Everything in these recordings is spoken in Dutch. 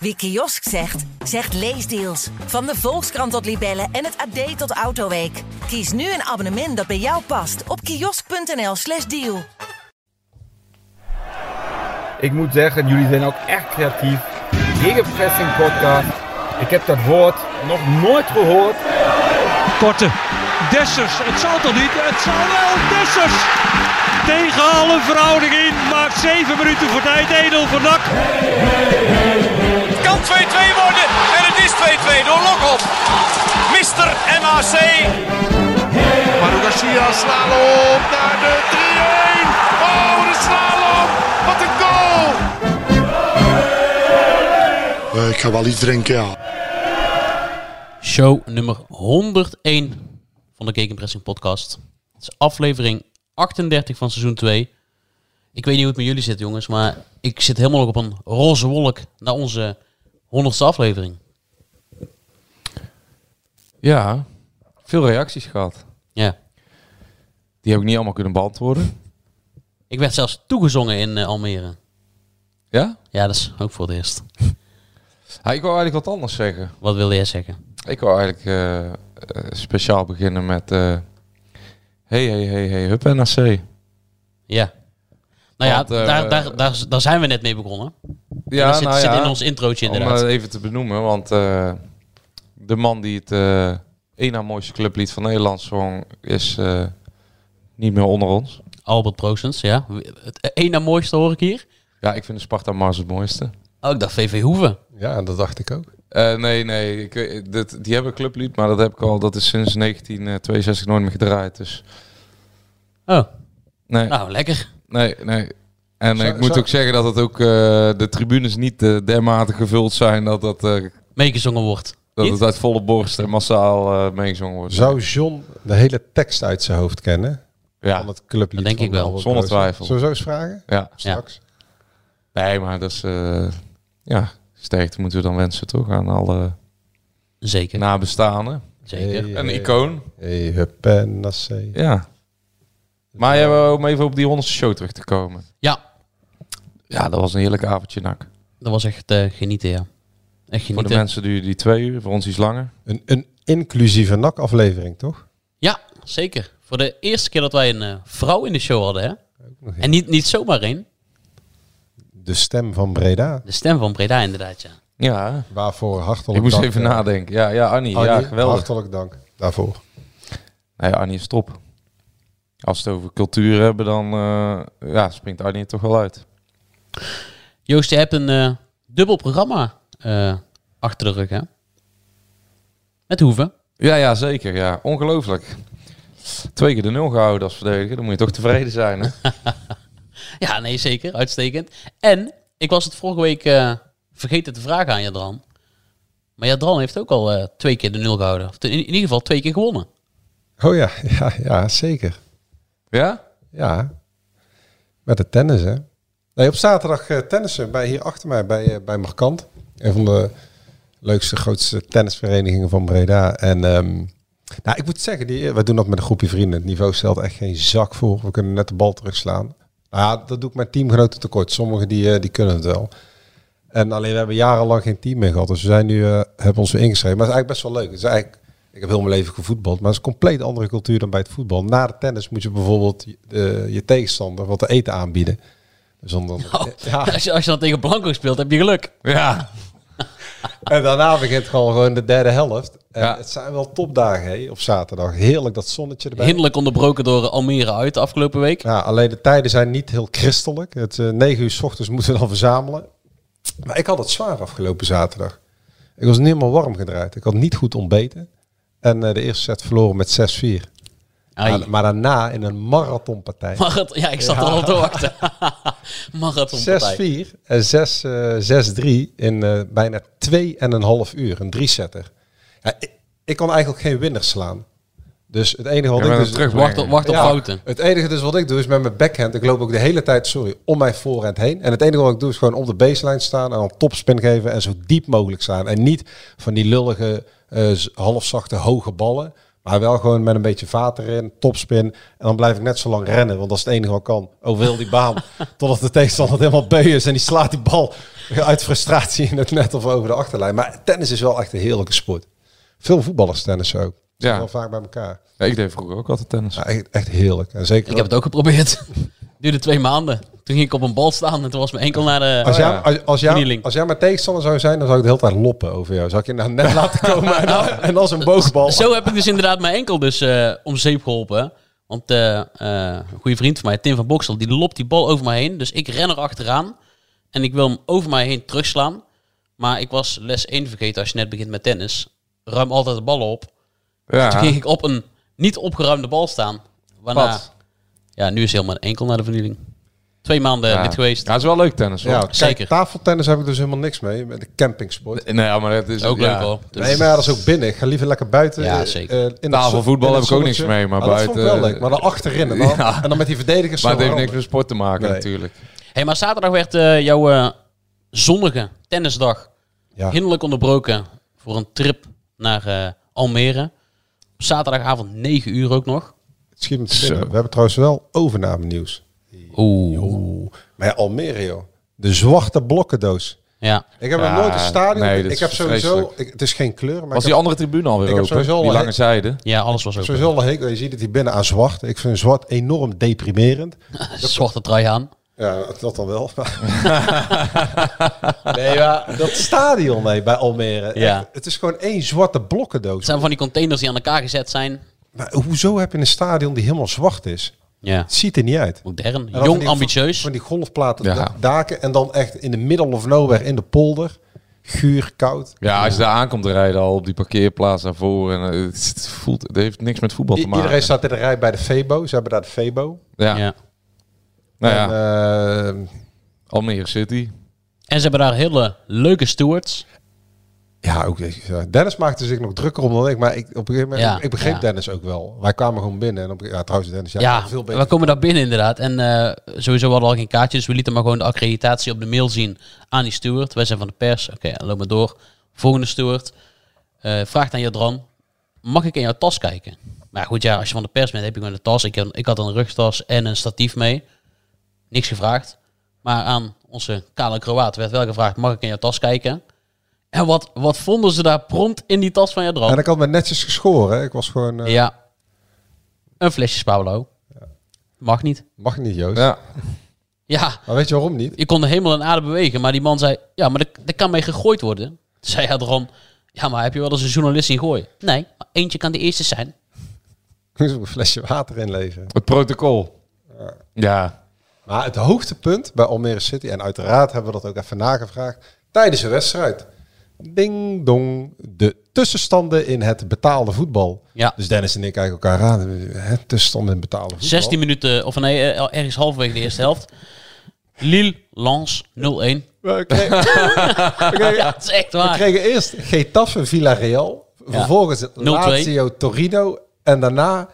Wie kiosk zegt, zegt leesdeals. Van de Volkskrant tot Libellen en het AD tot Autoweek. Kies nu een abonnement dat bij jou past op kiosk.nl/slash deal. Ik moet zeggen, jullie zijn ook echt creatief. Gegenpressing podcast. Ik heb dat woord nog nooit gehoord. Korte. Dessers. Het zal toch niet? Het zal wel. Dessers. Tegen alle verhouding in. Maakt 7 minuten voor tijd. Edel van Dak. Het kan 2-2 worden. En het is 2-2 door Lokop. Mister MAC. Maru Garcia slalom naar de 3-1. Oh, de slalom. Wat een goal. Eh, ik ga wel iets drinken, ja. Show nummer 101 van de Cake Pressing Podcast. Het is aflevering 38 van seizoen 2. Ik weet niet hoe het met jullie zit, jongens, maar ik zit helemaal nog op een roze wolk naar onze 100ste aflevering. Ja, veel reacties gehad. Ja. Die heb ik niet allemaal kunnen beantwoorden. Ik werd zelfs toegezongen in eh, Almere. Ja? Ja, dat is ook voor het eerst. Ah, ik wou eigenlijk wat anders zeggen. Wat wilde jij zeggen? Ik wou eigenlijk eh, eh, speciaal beginnen met... eh hey, hey, hey, hey, hup NAC. Ja. Nou ja, Want, eh, daar, daar, daar, daar zijn we net mee begonnen. nou Ja, dat zit, zit in ons introotje nou Om inderdaad. eh, even te benoemen, want eh, de man die het eh één na mooiste clublied van Nederland zong... is eh, niet meer onder ons. Albert Proosens, ja. Het één na mooiste hoor ik hier. Ja, ik vind de Sparta Mars het mooiste. Oh, ik dacht VV Hoeven. Ja, dat dacht ik ook. Eh, nee, nee. Ik, weet- dit, die hebben een clublied, maar dat heb ik al. Dat is sinds 1962 nooit meer gedraaid. Dus Oh, nee, nou lekker. nee, nee. En Zou- ik moet zou- ook zeggen dat het ook eh, de tribunes niet eh, dermate gevuld zijn dat, dat, eh, Meegezongen wordt. dat Niet? het uit volle borst en massaal eh, meegezongen wordt. Zou John de hele tekst uit zijn hoofd kennen? ja, Van het clublied. Dat denk van ik wel. Albert Zonder Rozen? twijfel. Zullen we zo eens vragen? ja. Straks. Nee, maar dat is eh, ja sterkte moeten we dan wensen toch aan alle Zeker. Nou, nabestaanden. Zeker. Hey, Een hey, icoon. Hey, hup en nassé. Ja. Maar jij wou om even op die honderdste show terug te komen. Ja, Ja, dat was een heerlijk avondje, Nak. dat was echt eh, genieten, ja. Echt Voor de genieten. mensen duurde die twee uur, voor ons iets langer. Een, een inclusieve NAC-aflevering, toch? ja, zeker. Voor de eerste keer dat wij een eh, vrouw in de show hadden, hè. nog En niet, niet zomaar één. De stem van Breda. De stem van Breda, inderdaad, ja. Ja, Waarvoor hartelijk ik moest dank, even eh, nadenken. Ja, ja Annie, ja, Arnie, geweldig. Hartelijk dank daarvoor. Nee, Annie is top. Als we het over cultuur hebben, dan eh, ja, springt Annie er toch wel uit. Joost, je hebt een eh, dubbel programma eh, achter de rug, hè. Met Hoeven. Ja, ja, zeker. Ja. Ongelooflijk. Twee keer de nul gehouden als verdediger, dan moet je toch tevreden zijn. Hè? Ja, nee, zeker. Uitstekend. En ik was het vorige week eh, vergeten te vragen aan Jadran. Maar Jadran heeft ook al eh, twee keer de nul gehouden. Of in, in ieder geval twee keer gewonnen. Oh ja, ja, ja, zeker. Ja? Ja. Met het tennis, hè? Nee, op zaterdag eh, tennissen bij, hier achter mij bij, eh, bij Markant. Een van de leukste, grootste tennisverenigingen van Breda. En ehm, nou, ik moet zeggen, die, wij doen dat met een groepje vrienden. Het niveau stelt echt geen zak voor. We kunnen net de bal terugslaan. Nou ja, dat doe ik mijn teamgenoten tekort. Sommigen die, eh, die kunnen het wel. En alleen we hebben jarenlang geen team meer gehad. Dus we zijn nu, eh, hebben ons weer ingeschreven. Maar het is eigenlijk best wel leuk. Het is eigenlijk, ik heb heel mijn leven gevoetbald. Maar het is een compleet andere cultuur dan bij het voetbal. Na de tennis moet je bijvoorbeeld eh, je tegenstander wat te eten aanbieden. Dus dan, dan- Oh, ja. Als, je, als je dan tegen Blanco speelt, heb je geluk. Ja. En daarna begint gewoon, gewoon de derde helft. En Ja. Het zijn wel topdagen hè, op zaterdag. Heerlijk dat zonnetje erbij. Hinderlijk onderbroken door Almere uit de afgelopen week. Ja, alleen de tijden zijn niet heel christelijk. Het eh 9 uur s ochtends moeten we dan verzamelen. Maar ik had het zwaar afgelopen zaterdag. Ik was niet helemaal warm gedraaid. Ik had niet goed ontbeten. En eh, de eerste set verloren met 6-4. Ai. Maar, maar daarna in een marathonpartij. Marathon- ja, ik zat er al op te wachten. Marathonpartij. 6-4 en 6, eh, 6-3 in eh, bijna 2,5 uur. Een drie-setter. Ja, ik, ik kon eigenlijk geen winnaar slaan. Dus het enige wat Ja, ik maar dus... dat terug- Wacht op, wacht op Ja, fouten. Het enige dus wat ik doe is met mijn backhand. Ik loop ook de hele tijd, sorry, om mijn voorhand heen. En het enige wat ik doe is gewoon op de baseline staan en dan topspin geven en zo diep mogelijk staan. En niet van die lullige, eh, z- halfzachte, hoge ballen. Maar wel gewoon met een beetje vaat erin, topspin. En dan blijf ik net zo lang rennen, want dat is het enige wat kan. Over heel die baan. Totdat de tegenstander helemaal beu is en die slaat die bal uit frustratie in het net of over de achterlijn. Maar tennis is wel echt een heerlijke sport. Veel voetballers tennissen ook. Ze zijn Ja. Wel vaak bij elkaar. Ja, ik deed vroeger ook altijd tennis. Ja, echt, echt heerlijk. En zeker Ik heb het ook geprobeerd. Duurde twee maanden. Toen ging ik op een bal staan en toen was mijn enkel naar de... Als, ja. jij, als, als, jij, Knieling. als jij mijn tegenstander zou zijn, dan zou ik de hele tijd loppen over jou. Zou ik je nou net laten komen en, dan- en als een boogbal. Zo heb ik dus inderdaad mijn enkel dus eh, om zeep geholpen. Want eh, eh, een goede vriend van mij, Tim van Boksel, die lopt die bal over mij heen. Dus ik ren er achteraan. En ik wil hem over mij heen terugslaan. Maar ik was les 1 vergeten als je net begint met tennis. Ruim altijd de ballen op. Toen Ja, ging ik op een niet opgeruimde bal staan. Waarna, Pat. ja, nu is helemaal een enkel naar de vernieling. Twee maanden ja. dit geweest. eh, Ja, het is wel leuk tennis hoor. Ja, kijk, Zeker. tafeltennis heb ik dus helemaal niks mee. Met de campingsport. Nee, maar het is Ook ja. leuk hoor. Dus- nee, maar ja, dat is ook binnen. Ik ga liever lekker buiten. Ja, eh, zeker. eh, in het Tafelvoetbal zon- heb in ik het ook niks mee, zonnetje. maar Ah, Dat vond ik wel buiten- eh, leuk. Maar dan achterin en dan, Ja. en dan met die verdedigers. Maar het zo heeft niks eronder. met sport te maken Nee. natuurlijk. hey, maar zaterdag werd eh, jouw eh, zonnige tennisdag Ja. hinderlijk onderbroken voor een trip naar eh, Almere. Op zaterdagavond 9 uur ook nog. Het schiet me te binnen. We hebben trouwens wel overname nieuws. Oeh. Oeh. Maar ja, Almere, joh. De zwarte blokkendoos. Ja. Ik heb Ja, nog nooit een stadion. nee, ik dit ik is heb sowieso... vreselijk. Ik, het is geen kleur, maar Was ik die andere tribune alweer ik heb open? sowieso al die een- lange zijde. ja, alles was ook Sowieso al een hekel. Je ziet het hier binnen aan zwart. Ik vind zwart enorm deprimerend. zwarte trui aan. Ja, dat dan wel. nee, maar dat stadion nee, bij Almere. Ja. echt, het is gewoon één zwarte blokkendoos. Het zijn van die containers die aan elkaar gezet zijn. Maar hoezo heb je een stadion die helemaal zwart is? Ja. Het ziet er niet uit. Modern, En dan van jong, die- ambitieus. Van die golfplaten Ja. da- daken en dan echt in de middle of nowhere in de polder. Guur, koud. Ja, als je daar aankomt te rijden al op die parkeerplaats daarvoor. En, eh, het, voelt, het heeft niks met voetbal I- te maken. iedereen staat in de rij bij de Febo. Ze hebben daar de Febo. Ja. Ja. Nou ja, En, eh, Almere City. En ze hebben daar hele leuke stewards. Ja, ook, eh, Dennis maakte zich nog drukker om dan ik. Maar ik, op een gegeven moment, Ja, ik, ik begreep ja. Dennis ook wel. Wij kwamen gewoon binnen. En op, ja, trouwens, Dennis, jij Ja, kan veel beter. we komen daar binnen inderdaad. En eh, sowieso hadden we al geen kaartjes. We lieten maar gewoon de accreditatie op de mail zien aan die steward. Wij zijn van de pers. Oké, loop maar door. Volgende steward eh, vraagt aan Jadran. Mag ik in jouw tas kijken? Maar goed, ja, als je van de pers bent, heb je gewoon een tas. Ik, heb- ik had een rugtas en een statief mee. Niks gevraagd. Maar aan onze kale Kroaat werd wel gevraagd, mag ik in jouw tas kijken? En wat, wat vonden ze daar prompt in die tas van Jadran? En ik had me netjes geschoren. hè. Ik was gewoon... eh, Ja. Een flesje Paulo. Mag niet. Mag niet, Joost. Ja. Ja, Maar weet je waarom niet? je kon de hemel en aarde bewegen. Maar die man zei, ja, maar dat, dat kan mee gegooid worden. Toen zei hij erom, ja, maar heb je wel eens een journalist zien gooien? Nee, maar eentje kan de eerste zijn. Ik moest ook een flesje water inleveren. Het protocol. Ja. Maar het hoogtepunt bij Almere City... En uiteraard hebben we dat ook even nagevraagd. Tijdens een wedstrijd. Ding dong. De tussenstanden in het betaalde voetbal. Ja. Dus Dennis en ik kijken elkaar aan. Hè, tussenstanden in het betaalde voetbal. 16 minuten, of nee, eh, ergens halverwege de eerste helft. Lille, Lens, 0-1. We kregen, we kregen- Ja, dat is echt we waar. kregen eerst Getafe Villarreal. Vervolgens 0-2. Lazio Torino. En daarna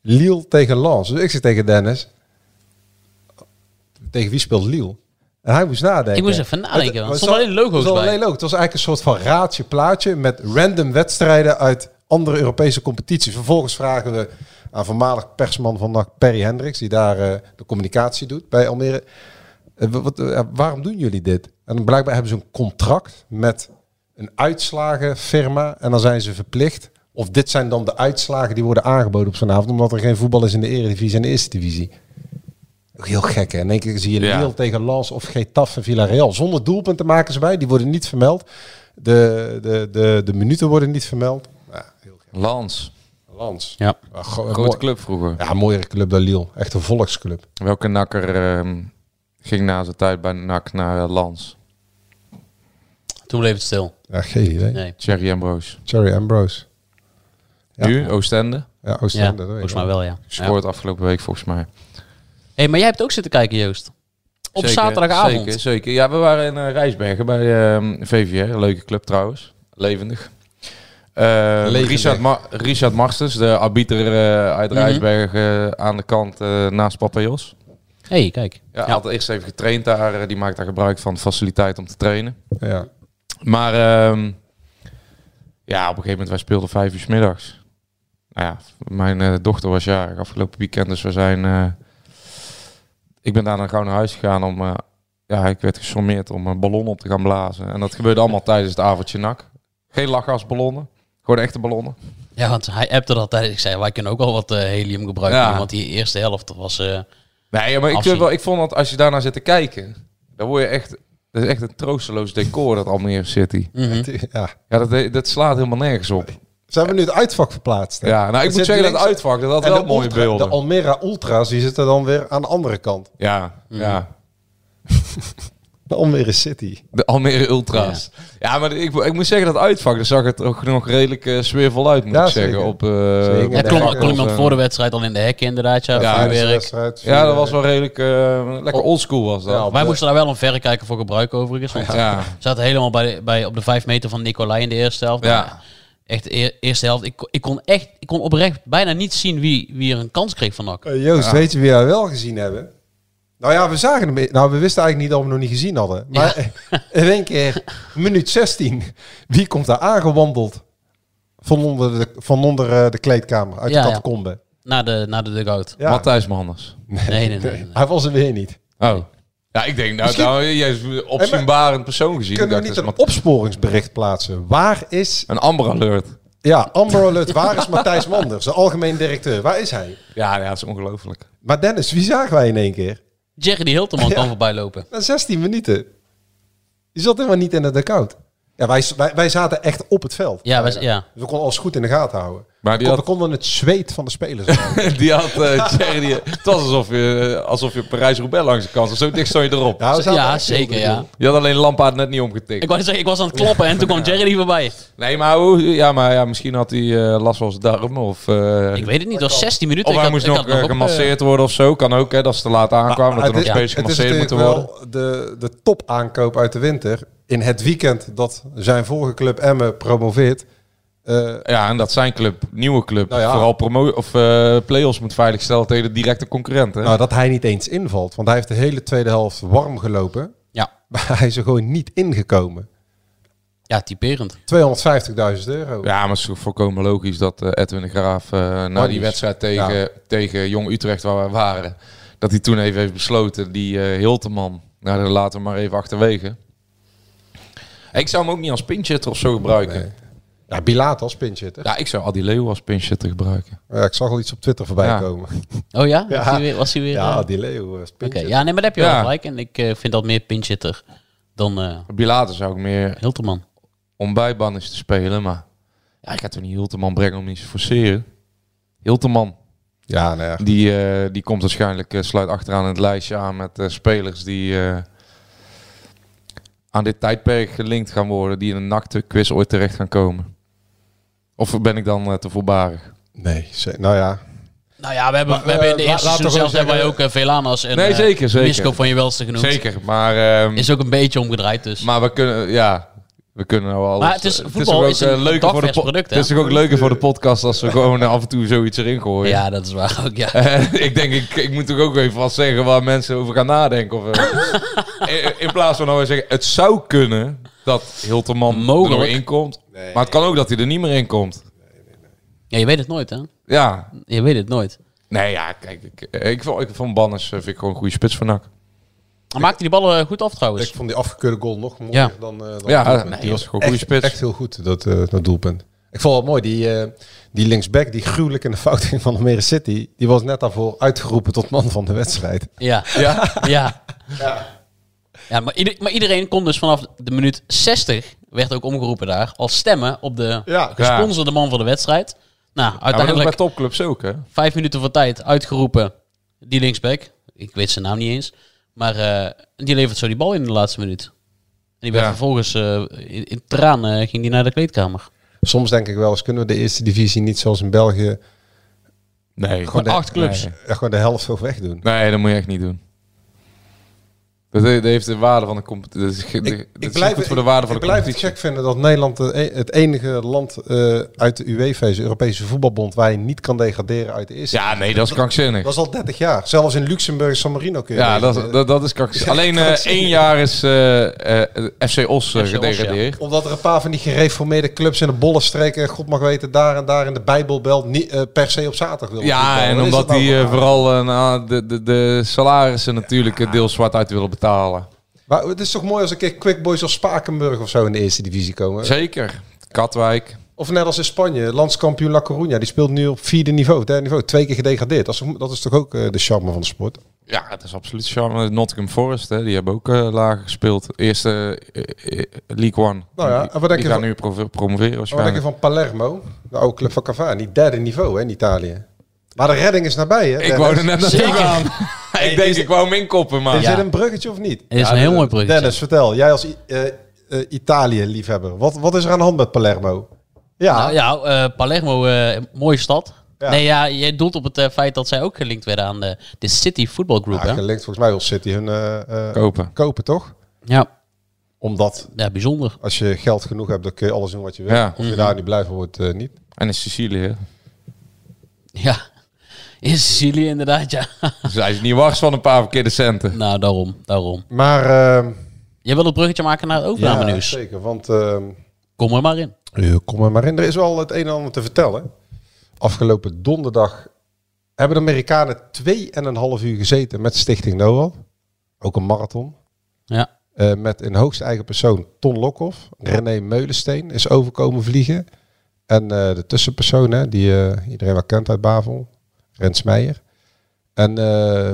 Lille tegen Lens. Dus ik zeg tegen Dennis... Tegen wie speelt Lille? En hij moest nadenken. Ik moest even nadenken, Het- want het er stonden alleen logo's het stond bij. alleen logo. Het was eigenlijk een soort van raadje plaatje met random wedstrijden uit andere Europese competities. Vervolgens vragen we aan voormalig persman van NAC, Perry Hendricks, die daar eh, de communicatie doet bij Almere. Eh, wa- wat, eh, waarom doen jullie dit? En dan blijkbaar hebben ze een contract met een uitslagenfirma. En dan zijn ze verplicht. Of dit zijn dan de uitslagen die worden aangeboden op zo'n avond. Omdat er geen voetbal is in de eredivisie en de eerste divisie. Ook Heel gek hè. In één keer zie je Ja. Lille tegen Lens of Getafe en Villarreal. Zonder doelpunten maken ze bij. Die worden niet vermeld. De, de, de, de minuten worden niet vermeld. Ja, heel gek. Lans. Lens. Ja. Ah, go- Grote mooi- club vroeger. Ja, mooiere club dan Lille. Echt een volksclub. Welke nakker ehm, ging na zijn tijd bij NAC naar eh, Lans? Toen bleef het stil. Ja, geen idee. Nee. Thierry Ambrose. Cherry Ambrose. Ja. Nu, Oostende. Ja, Ja, Oostende. dat weet ik volgens wel. mij wel, ja. ja. Scoort afgelopen week volgens mij. hey, maar jij hebt ook zitten kijken, Joost. Op Zeker, zaterdagavond. Zeker, zeker. Ja, we waren in eh, Rijsbergen bij ehm, VVR. Leuke club trouwens. Levendig. Eh, Richard, Ma- Richard Marsters, de arbiter eh, uit Mhm. Rijsbergen eh, aan de kant eh, naast Papa Jos. hey, kijk. Ja, Ja. Had eerst even getraind daar. eh, die maakt daar gebruik van de faciliteit om te trainen. Ja. Maar ehm, ja, op een gegeven moment, wij speelden vijf uur 's middags. Nou ja, mijn eh, dochter was jarig afgelopen weekend, dus we zijn... eh, ik ben daarna gauw naar huis gegaan om... eh, ja, ik werd gesommeerd om een ballon op te gaan blazen. En dat gebeurde allemaal tijdens het avondje nak. Geen lachgasballonnen, gewoon echte ballonnen. Ja, want hij appte dat tijdens. Ik zei, wij kunnen ook al wat eh, helium gebruiken. Ja. Want die eerste helft was... eh, Nee, maar ik, Afzien. vind wel, ik vond dat als je daarnaar zit te kijken, dan word je echt... Dat is echt een troosteloos decor, dat Almere City. Ja. Ja, dat, dat slaat helemaal nergens op. Zijn we nu het uitvak verplaatst? hè? Ja, nou, ik Er moet zit zeggen dat links- het uitvak, dat had en wel de mooie ultra- beelden. De Almera Ultras die zitten dan weer aan de andere kant. ja, ja. De Almere City. De Almere Ultra's. Ja, maar ik, ik moet zeggen dat het uitvak, daar zag het ook nog redelijk eh, sfeervol uit, moet Ja, ik zeggen. zeker. Op, eh, Zeker. op ja, Ja, de klom, dat- hekken klom of, iemand eh, voor de wedstrijd al in de hekken inderdaad. Ja, Ja, vuurwerk. Ja, dat was wel redelijk eh lekker oldschool was Ja, dat. op- Wij moesten daar wel een verrekijker voor gebruiken overigens. Want Ja, ja. we zaten helemaal bij, bij, op de vijf meter van Nicolai in de eerste helft. ja. Echt de eer- eerste helft. Ik, ik kon echt, ik kon oprecht bijna niet zien wie, wie er een kans kreeg van NAC. Eh, Joost, weet je wie wij wel gezien hebben? Nou ja, we zagen hem. Nou, we wisten eigenlijk niet dat we hem nog niet gezien hadden. Maar in één keer, minuut 16. Wie komt daar aangewandeld? Van onder de, van onder eh, de kleedkamer, uit Ja, ja. de catacombe. Na de, na de dugout. Ja. Matthijs Manders. Nee, nee, nee. nee, nee. Hij was er weer niet. Oh. Ja, ik denk, nou, Misschien- nou jij is een opzienbarend persoon gezien. Kunnen we Ik niet dacht, een dat is Mat- opsporingsbericht plaatsen? Waar is... een Amber Alert. Ja, Amber Alert, waar is Matthijs Manders, de algemeen directeur? Waar is hij? Ja, ja, dat is ongelooflijk. Maar Dennis, wie zagen wij in één keer? Jerry die Hilterman kan voorbij lopen. Na 16 minuten. Je zat helemaal niet in de dugout. Ja, wij, wij, wij zaten echt op het veld. Ja, wij- ja. Dus we konden alles goed in de gaten houden. Maar we, die kon- had- we konden het zweet van de spelers. houden. Die had eh Thierry- Het was alsof je, eh, alsof je Parijs-Roubaix langs de kant. Zo dicht stond je erop. we zaten Ja, echt heel zeker, goed. ja. Je had alleen Lampaard net niet omgetikt. Ik wou zeggen, ik was aan het kloppen en toen kwam Jerry die voorbij. Nee, maar, hoe, ja, maar ja, misschien had hij eh, last van zijn darm. Of, eh, Ik weet het niet, dat was 16 minuten. of hij ik had- moest ik nog had eh, op, eh, gemasseerd worden of zo. Kan ook, hè, dat ze te laat aankwamen. Maar dat er nog het steeds is- het is gemasseerd moeten natuurlijk worden. wel de, de topaankoop uit de winter. In het weekend dat zijn vorige club Emmen promoveert. eh, Ja, en dat zijn club, nieuwe club, Nou ja. vooral promo of eh play-offs moet veiligstellen tegen de directe concurrenten. nou, dat hij niet eens invalt. Want hij heeft de hele tweede helft warm gelopen. Ja. Maar hij is er gewoon niet ingekomen. ja, typerend. 250.000 euro. Ja, maar het is toch volkomen logisch dat eh, Edwin de Graaf eh, na Oh, die die- wedstrijd tegen, tegen Jong Utrecht waar wij waren, dat hij toen even heeft besloten, die eh Hilteman, nou dat laten we maar even achterwege. Ik zou hem ook niet als pinchitter of zo gebruiken. Ja, Bilaat als pinchitter. Ja, ik zou Adi Leeuw als pinchitter gebruiken. Ja, ik zag al iets op Twitter voorbij Ja. komen. Oh ja? Ja. Was hij weer? Was hij weer eh, Ja, die Leo was Oké, pinchitter. ja, nee, maar daar heb je Ja. wel gelijk. En ik eh, vind dat meer pinchitter dan eh Bilater zou ik meer Hilterman. om bijbanners te spelen, maar ja, ik ga toch niet Hilteman brengen om niet te forceren. Hilteman, Ja, nou ja. Die, eh, die komt waarschijnlijk, eh, sluit achteraan het lijstje aan met eh, spelers die eh, aan dit tijdperk gelinkt gaan worden. Die in een nakte quiz ooit terecht gaan komen. Of ben ik dan eh, te voorbarig? Nee, ze- nou ja. Nou ja, we hebben, we eh, hebben in de la- eerste laten seizoen we zelf gewoon hebben wij ook zeggen- eh, Velanas en Nee, eh, zeker, zeker. Misco van je welste genoemd. Zeker, maar, ehm, Is ook een beetje omgedraaid dus. maar we kunnen, ja, we kunnen nou alles. Maar het is- voetbal toch is een eh, leuker voor de dagvers po- product, hè? Het is toch ook leuker voor de podcast als we gewoon eh, af en toe zoiets erin gooien. ja, dat is waar ook, ja. Eh, ik denk, ik, ik moet toch ook even wat zeggen waar mensen over gaan nadenken. Of, eh, in, in plaats van nou weer zeggen, het zou kunnen dat Hilterman er nog Mogelijk. in komt. Maar het kan ook dat hij er niet meer in komt. ja. Je weet het nooit, hè? Ja, Je weet het nooit. nee ja, kijk, ik, eh, ik, vond, ik vond Banners eh, vind ik gewoon een goede spits van NAC. Maar maakte die ballen eh, goed af trouwens. Ik vond die afgekeurde goal nog mooier Ja. dan, eh, dan... Dus- Ja, het doelpunt. nee, dus- die was gewoon echt, goede spits. Echt heel goed, dat, eh, dat doelpunt. Ik vond het mooi, die, eh, die linksback die gruwelijk in de fout ging van Almere City, die was net daarvoor uitgeroepen tot man van de wedstrijd. Ja. Ja. ja. Ja, maar, ieder- maar iedereen kon dus vanaf de minuut 60, werd ook omgeroepen daar, al stemmen op de Ja. gesponsorde man van de wedstrijd. Ja, maar dat Nou, is bij uiteindelijk topclubs ook, hè? vijf minuten voor tijd uitgeroepen. Die linksback. Ik weet zijn naam niet eens. Maar eh, die levert zo die bal in de laatste minuut. En die werd Ja. vervolgens eh, in, in tranen eh, ging die naar de kleedkamer. Soms denk ik wel eens, kunnen we de eerste divisie niet zoals in België Nee. Gewoon Gewoon de- acht clubs. eh, gewoon de helft zo weg doen? Nee, dat moet je echt niet doen. Dat, he- dat heeft de waarde van de competitie. Dat is, ge- dat is goed voor de waarde van ik de blijf het competitie. gek vinden dat Nederland de e- het enige land eh, uit de UEFA is, de Europese voetbalbond, waar je niet kan degraderen uit de eerste. Ja, nee, dat is krankzinnig. Dat is al 30 jaar. Zelfs in Luxemburg, San Marino kun je. Ja, dat, is- dat, degraderen. dat is krankzinnig. Alleen eh, één jaar is eh, eh, FC Os eh, Os, ja. gedegradeerd. Omdat er een paar van die gereformeerde clubs in de bolle streken, God mag weten, daar en daar in de Bijbelbelt, niet eh, per se op zaterdag willen. Ja, voetballen. en Wat is omdat dat nou die voor eh, raar? vooral eh, nou, de, de, de salarissen natuurlijk eh, deels zwart uit willen betalen. Maar het is toch mooi als een keer Quick Boys of Spakenburg of zo in de eerste divisie komen. Zeker. Katwijk. Of net als in Spanje, landskampioen La Coruña. Die speelt nu op vierde niveau, derde niveau. Twee keer gedegradeerd. Dat is, toch- dat is toch ook eh, de charme van de sport? Ja, het is absoluut charme. Nottingham Forest, hè, die hebben ook eh, lager gespeeld. Eerste eh, eh, League One. Nou ja, en wat denk die je gaan van- nu provo- promoveren Wat denk je waarschijnlijk. van Palermo, de oude club van Cavani? Derde niveau hè, in Italië. Maar de redding is nabij, hè? Ik wou er net naartoe gaan. ik denk, ik wou hem inkoppen, maar... Is Ja. dit een bruggetje of niet? Het is een heel mooi bruggetje. Dennis, vertel. Jij als I- eh, eh, Italië-liefhebber. Wat, wat is er aan de hand met Palermo? Ja, Nou ja, eh, Palermo, eh, mooie stad. Ja. Nee, ja, jij doelt op het eh, feit dat zij ook gelinkt werden aan de, de City Football Group. Nou, hè? gelinkt volgens mij wil City hun eh, eh, Kopen. kopen, toch? Ja, Omdat ja, bijzonder. als je geld genoeg hebt, dan kun je alles doen wat je wil. Ja. Of je daar nu blij van wordt, eh, niet. En in Sicilië. hè. Ja, in Sicilië inderdaad, ja. Dus hij is niet wars van een paar verkeerde centen. nou, daarom, daarom. Maar eh, Jij wil het bruggetje maken naar het overname ja, nieuws. zeker. Want eh, Kom er maar in. eh, kom er maar in. Er is wel het een en ander te vertellen. Afgelopen donderdag hebben de Amerikanen twee en een half uur gezeten met Stichting Noah. Ook een marathon. Ja. Eh, met in hoogste eigen persoon Ton Lokhoff. René Meulensteen is overkomen vliegen. En eh, de tussenpersoon, hè, die eh, iedereen wel kent uit Bavel, Rens Meijer. En eh,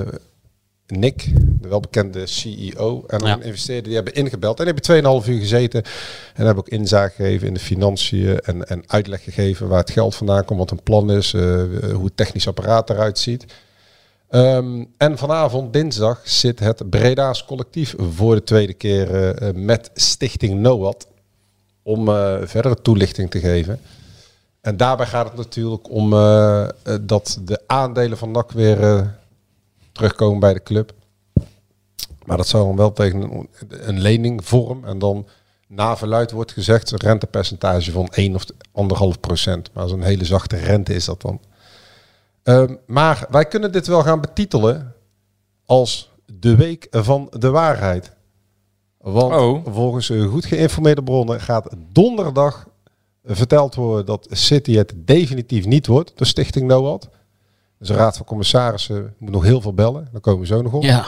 Nick, de welbekende CEO en Ja. een investeerder, die hebben ingebeld. En die hebben 2,5 uur gezeten. En hebben ook inzage gegeven in de financiën en, en uitleg gegeven waar het geld vandaan komt, wat een plan is, eh, hoe het technisch apparaat eruit ziet. Ehm, en vanavond, dinsdag, zit het Breda's collectief voor de tweede keer eh, eh, met Stichting NOAD om eh, verdere toelichting te geven. En daarbij gaat het natuurlijk om eh, eh, dat de aandelen van NAC weer eh, terugkomen bij de club. Maar dat zou dan wel tegen een, een leningvorm en dan na verluid wordt gezegd een rentepercentage van 1 of 1,5 procent. Maar zo'n hele zachte rente is dat dan. Ehm, maar wij kunnen dit wel gaan betitelen als de week van de waarheid. Want Oh. volgens eh, goed geïnformeerde bronnen gaat donderdag verteld worden dat City het definitief niet wordt, de stichting NOAD. Dus de raad van commissarissen moet nog heel veel bellen, daar komen we zo nog op. Ja.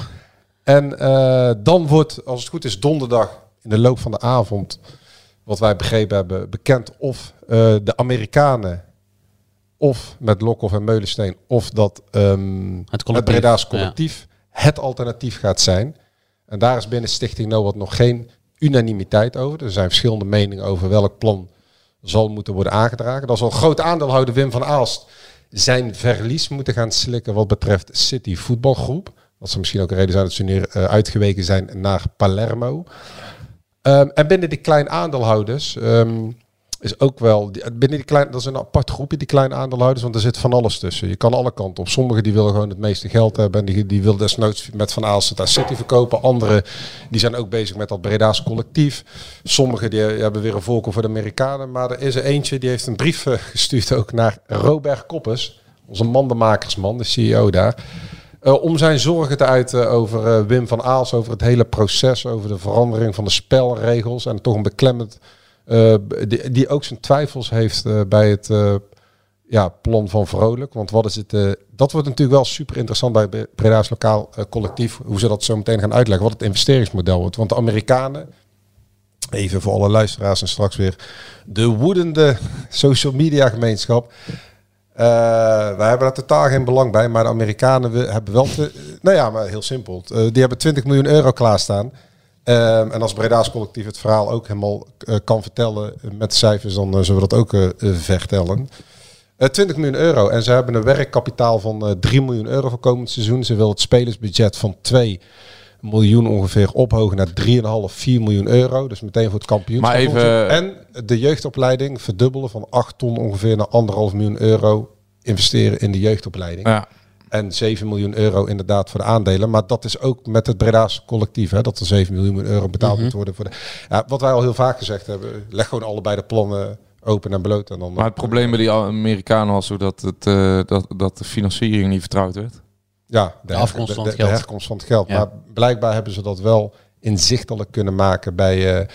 En eh, dan wordt, als het goed is, donderdag in de loop van de avond, wat wij begrepen hebben, bekend of eh, de Amerikanen, of met Lokhoff en Meulensteen, of dat ehm, Het het collectief. Breda's collectief het alternatief gaat zijn. En daar is binnen Stichting NOAD nog geen unanimiteit over. Er zijn verschillende meningen over welk plan zal moeten worden aangedragen. Dan zal groot aandeelhouder Wim van Aalst zijn verlies moeten gaan slikken wat betreft City Voetbalgroep. Dat ze misschien ook een reden zijn dat ze nu eh, uitgeweken zijn naar Palermo. Ehm, en binnen die klein aandeelhouders ehm, is ook wel... die- eh, Binnen die klein, dat is een apart groepje, die klein aandeelhouders, want er zit van alles tussen. Je kan alle kanten op. Sommigen die willen gewoon het meeste geld hebben en die, die willen desnoods met Van Aalst het aan City verkopen. Anderen die zijn ook bezig met dat Breda's collectief. Sommigen die hebben weer een voorkeur voor de Amerikanen. Maar er is er eentje die heeft een brief eh, gestuurd ook naar Robert Koppers, onze mandenmakersman, de CEO daar. Eh, om zijn zorgen te uiten over eh, Wim van Aals, over het hele proces, over de verandering van de spelregels. En toch een beklemmend, eh, die, die ook zijn twijfels heeft eh, bij het eh, ja, plan van Vrolijk. Want wat is het, eh, dat wordt natuurlijk wel super interessant bij Bre- Breda's Lokaal eh, Collectief, hoe ze dat zo meteen gaan uitleggen, wat het investeringsmodel wordt. Want de Amerikanen, even voor alle luisteraars en straks weer, de woedende social media gemeenschap, eh, wij hebben daar totaal geen belang bij, maar de Amerikanen we- hebben wel... Te, nou ja, maar heel simpel. Eh, die hebben 20 miljoen euro klaarstaan. Ehm en als Breda's collectief het verhaal ook helemaal eh, kan vertellen met cijfers, dan eh, zullen we dat ook eh, eh, vertellen. Eh, 20 miljoen euro. En ze hebben een werkkapitaal van eh, 3 miljoen euro voor komend seizoen. Ze wil het spelersbudget van 2 miljoen ongeveer ophogen naar 3,5, 4 miljoen euro. Dus meteen voor het kampioenschap. Maar even- En de jeugdopleiding verdubbelen van 8 ton ongeveer naar 1,5 miljoen euro investeren in de jeugdopleiding. Ja. En 7 miljoen euro inderdaad voor de aandelen. Maar dat is ook met het Breda's collectief. Hè, dat er 7 miljoen euro betaald Mhm. moet worden. Voor de, ja, wat wij al heel vaak gezegd hebben. Leg gewoon allebei de plannen open en bloot. En dan eh, Maar het probleem bij die Amerikanen was ook dat, het, eh, dat, dat de financiering niet vertrouwd werd. Ja, de, her- afkomst de- van de- het de geld. herkomst van het geld. Ja. Maar blijkbaar hebben ze dat wel inzichtelijk kunnen maken bij eh,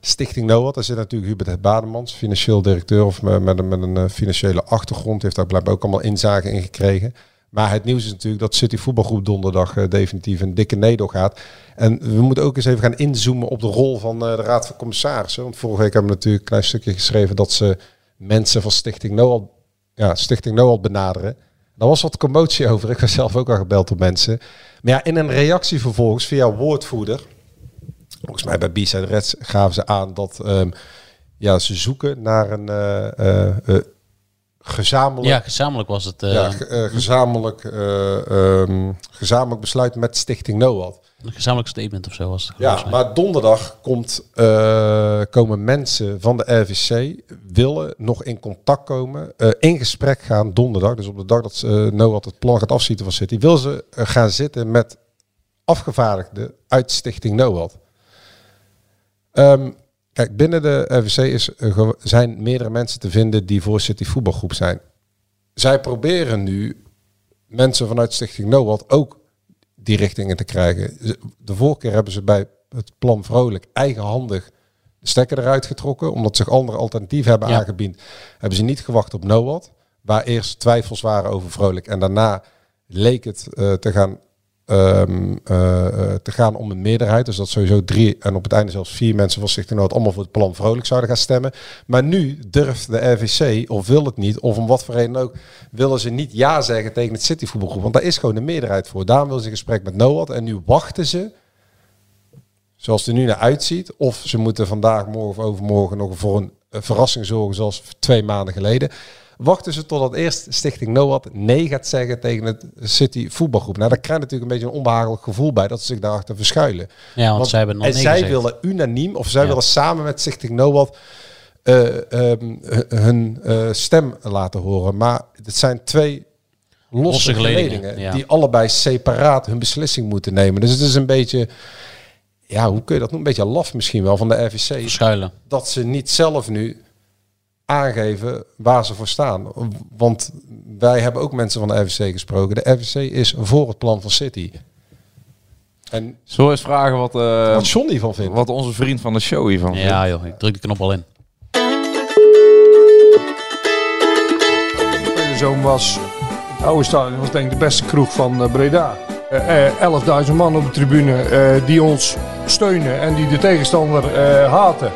Stichting NOAD. Daar zit natuurlijk Hubert Bademans, financieel directeur of me- met, een, met een eh, financiële achtergrond. Heeft daar blijkbaar ook allemaal inzage in gekregen. Maar het nieuws is natuurlijk dat City Voetbalgroep donderdag eh, definitief een dikke nedo gaat. En we moeten ook eens even gaan inzoomen op de rol van eh, de Raad van Commissarissen. Want vorige week hebben we natuurlijk een klein stukje geschreven dat ze mensen van Stichting NOAD, ja, Stichting NOAD benaderen. Daar was wat commotie over. Ik was zelf ook al gebeld door mensen. Maar ja, in een reactie vervolgens via woordvoerder, volgens mij bij B-Side Reds, gaven ze aan dat ehm, ja, ze zoeken naar een eh, eh, eh, gezamenlijk Ja, gezamenlijk was het. eh, ja, ge- eh, gezamenlijk, eh, ehm, gezamenlijk besluit met Stichting NOAD. een gezamenlijk statement of zo was het. Ja, volgens mij. maar donderdag komt, eh, komen mensen van de RVC, willen nog in contact komen, eh, in gesprek gaan donderdag. Dus op de dag dat eh NOAD het plan gaat afschieten van City, wil ze eh, gaan zitten met afgevaardigden uit Stichting NOAD. Ehm, kijk, binnen de RVC is, eh, ge- zijn meerdere mensen te vinden die voor City voetbalgroep zijn. Zij proberen nu mensen vanuit Stichting NOAD ook die richtingen te krijgen. Ze- De vorige keer hebben ze bij het plan Vrolijk eigenhandig de stekker eruit getrokken, omdat zich anderen alternatief hebben Ja. aangebied. Hebben ze niet gewacht op NOAD, waar eerst twijfels waren over Vrolijk en daarna leek het eh, te, gaan, ehm, eh, eh, te gaan om een meerderheid. Dus dat sowieso drie en op het einde zelfs vier mensen van Stichting Noord allemaal voor het plan Vrolijk zouden gaan stemmen. Maar nu durft de RVC, of wil het niet, of om wat voor reden ook, willen ze niet ja zeggen tegen het Cityvoetbalgroep. Want daar is gewoon een meerderheid voor. Daarom willen ze een gesprek met NOAD en nu wachten ze zoals het er nu naar uitziet. Of ze moeten vandaag, morgen of overmorgen nog voor een eh, verrassing zorgen zoals twee maanden geleden. Wachten ze totdat eerst Stichting NOAD nee gaat zeggen tegen het City voetbalgroep. Nou, daar krijg je natuurlijk een beetje een onbehagelijk gevoel bij dat ze zich daarachter verschuilen. Ja, want, zij hebben nog en nee zij gezegd. willen unaniem, of zij Ja. willen samen met Stichting NOAD eh, ehm, hu- hun eh, stem laten horen. Maar het zijn twee losse, Losse geledingen, geledingen, ja. die allebei separaat hun beslissing moeten nemen. Dus het is een beetje, ja, hoe kun je dat noemen? Een beetje laf misschien wel van de RVC. verschuilen. Dat ze niet zelf nu aangeven waar ze voor staan. Want wij hebben ook mensen van de RVC gesproken. De RVC is voor het plan van City. En Zullen we eens vragen wat, eh, wat Johnny van vindt. wat onze vriend van de show hiervan vindt? Ja, joh, ik druk de knop al in. De zoon was, het oude stadion was denk ik de beste kroeg van eh, Breda. Eh, eh, 11.000 man op de tribune eh, die ons steunen en die de tegenstander eh, haten.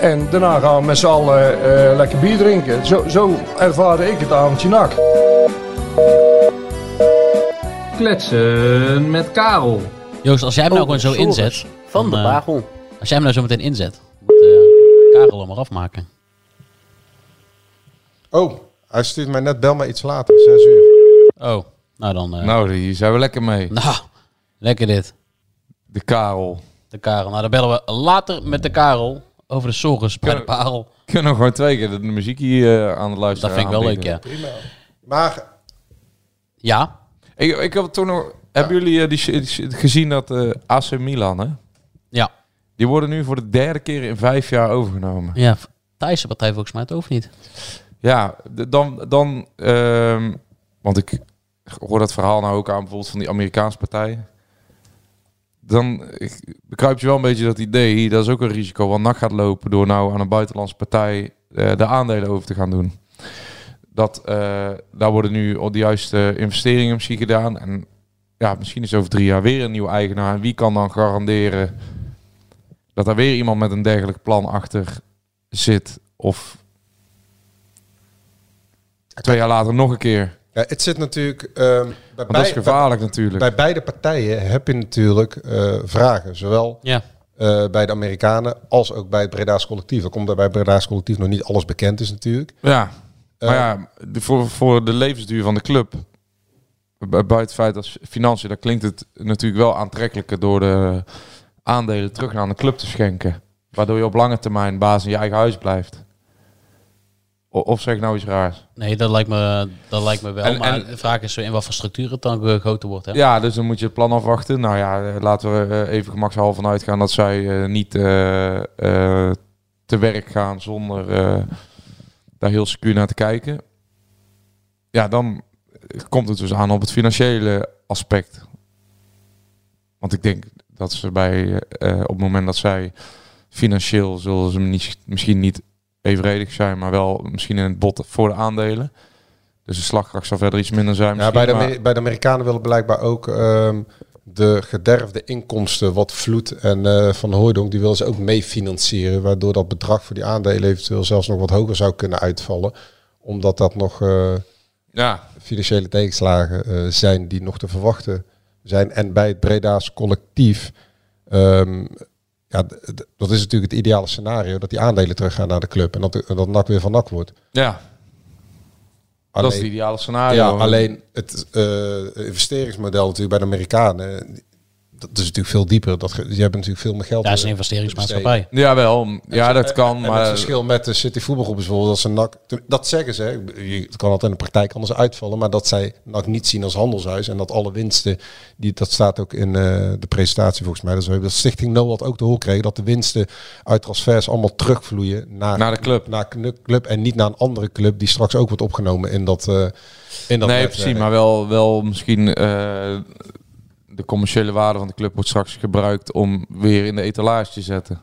En daarna gaan we met z'n allen eh, lekker bier drinken. Zo, zo ervaarde ik het avondje nak. Kletsen met Karel. Joost, als jij hem nou gewoon zo inzet. Van de bagel. als jij hem nou zo meteen inzet. Moet eh, Karel hem maar afmaken. Oh, hij stuurt mij net, bel maar iets later, 6 uur. Oh, nou dan. eh, nou. Nou, hier zijn we lekker mee. lekker dit. De Karel. De Karel. Nou, dan bellen we later met de Karel. Over de zorgens bij de Kunnen- parel. Kunnen we gewoon twee keer de muziek hier eh, aan het Dat luisteren vind ik wel leuk, aanbieden. ja. Maar Ja, Ik, ik had toen nog... Hebben jullie eh, die, sh- die sh- gezien dat eh, AC Milan, hè? ja. Die worden nu voor de derde keer in vijf jaar overgenomen. Ja, Thijs partij volgens mij het over niet. Ja, d- dan... dan ehm, want ik hoor dat verhaal nou ook aan bijvoorbeeld van die Amerikaanse partijen. Dan eh, bekruipt je wel een beetje dat idee. Dat is ook een risico. Want NAC gaat lopen door nou aan een buitenlandse partij eh, de aandelen over te gaan doen. Dat, eh, daar worden nu al de juiste investeringen misschien gedaan. En ja, misschien is over drie jaar weer een nieuwe eigenaar. En wie kan dan garanderen dat daar weer iemand met een dergelijk plan achter zit? Of twee jaar later nog een keer. ja, het zit natuurlijk... ehm, bij, Want dat is bij, bij, gevaarlijk natuurlijk. bij beide partijen heb je natuurlijk eh, vragen. Zowel Ja. eh, bij de Amerikanen als ook bij het Breda's collectief. Dan komt er bij het Breda's collectief nog niet alles bekend is natuurlijk. Ja, Eh, maar ja, de- voor, voor de levensduur van de club, bu- buiten het feit dat financiën, daar klinkt het natuurlijk wel aantrekkelijker door de aandelen terug naar de club te schenken. Waardoor je op lange termijn baas in je eigen huis blijft. O- Of zeg ik nou iets raars? Nee, dat lijkt me, dat lijkt me wel. En- maar en- de vraag is in wat voor structuur het dan gegoten wordt. Hè? Ja, dus dan moet je het plan afwachten. Nou ja, eh, laten we eh, even gemakshalve van uitgaan dat zij eh, niet eh, eh, te werk gaan zonder eh, daar heel secuur naar te kijken. Ja, dan komt het dus aan op het financiële aspect. Want ik denk dat ze bij, eh, op het moment dat zij financieel zullen ze niet, misschien niet evenredig zijn, maar wel misschien in het bot voor de aandelen. Dus de slagkracht zal verder iets minder zijn. Ja, misschien, bij, de, maar- Ameri- bij de Amerikanen willen blijkbaar ook ehm, de gederfde inkomsten, wat Vloed en eh, Van Hooydonk, die willen ze ook mee financieren. Waardoor dat bedrag voor die aandelen eventueel zelfs nog wat hoger zou kunnen uitvallen. Omdat dat nog eh, ja, financiële tegenslagen eh, zijn die nog te verwachten zijn. En bij het Breda's collectief, ehm, ja, d- d- dat is natuurlijk het ideale scenario, dat die aandelen teruggaan naar de club. En dat, en dat NAC weer van NAC wordt. ja. dat is Alleen- het ideale scenario. Ja, alleen het eh, investeringsmodel natuurlijk bij de Amerikanen, eh, dat is natuurlijk veel dieper. Dat, ge- die hebben natuurlijk veel meer geld. Daar is een eh, te investeringsmaatschappij. Jawel, ja, dat kan, besteden. En het maar... verschil met de City voetbalgroep is bijvoorbeeld dat ze NAC, dat zeggen ze, hè, ik bedoel, je- het kan altijd in de praktijk anders uitvallen, maar dat zij NAC niet zien als handelshuis en dat alle winsten, die, dat staat ook in eh, de presentatie volgens mij, dat, is, dat Stichting Noord ook te horen kreeg, dat de winsten uit transfers allemaal terugvloeien naar, Naar de club. Naar knu- club en niet naar een andere club die straks ook wordt opgenomen in dat... eh, in dat nee, netwerk. precies, maar wel, wel misschien eh, de commerciële waarde van de club wordt straks gebruikt om weer in de etalage te zetten.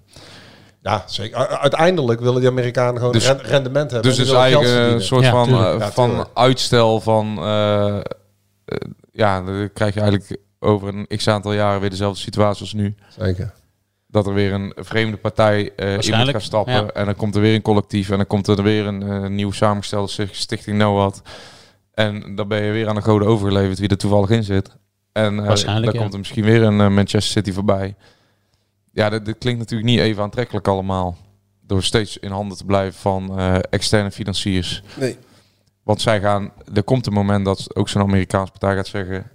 Ja, zeker. U- Uiteindelijk willen die Amerikanen gewoon Dus- ren- rendement hebben. dus en het die is willen eigenlijk geld een verdienen. soort Ja, van, tuurlijk. eh, Ja, van tuurlijk. uitstel van... eh, eh, ja, dan krijg je eigenlijk over een x-aantal jaren weer dezelfde situatie als nu. Zeker. Dat er weer een vreemde partij eh in moet Waarschijnlijk, gaan stappen. ja. En dan komt er weer een collectief. En dan komt er weer een eh, nieuw samengestelde sticht- stichting NOAD. En dan ben je weer aan de goden overgeleverd wie er toevallig in zit. En eh, Waarschijnlijk, dan ja. komt er misschien weer een eh, Manchester City voorbij. Ja, dat, dat klinkt natuurlijk niet even aantrekkelijk allemaal. Door steeds in handen te blijven van eh, externe financiers. Nee. Want zij gaan, er komt een moment dat ook zo'n Amerikaanse partij gaat zeggen.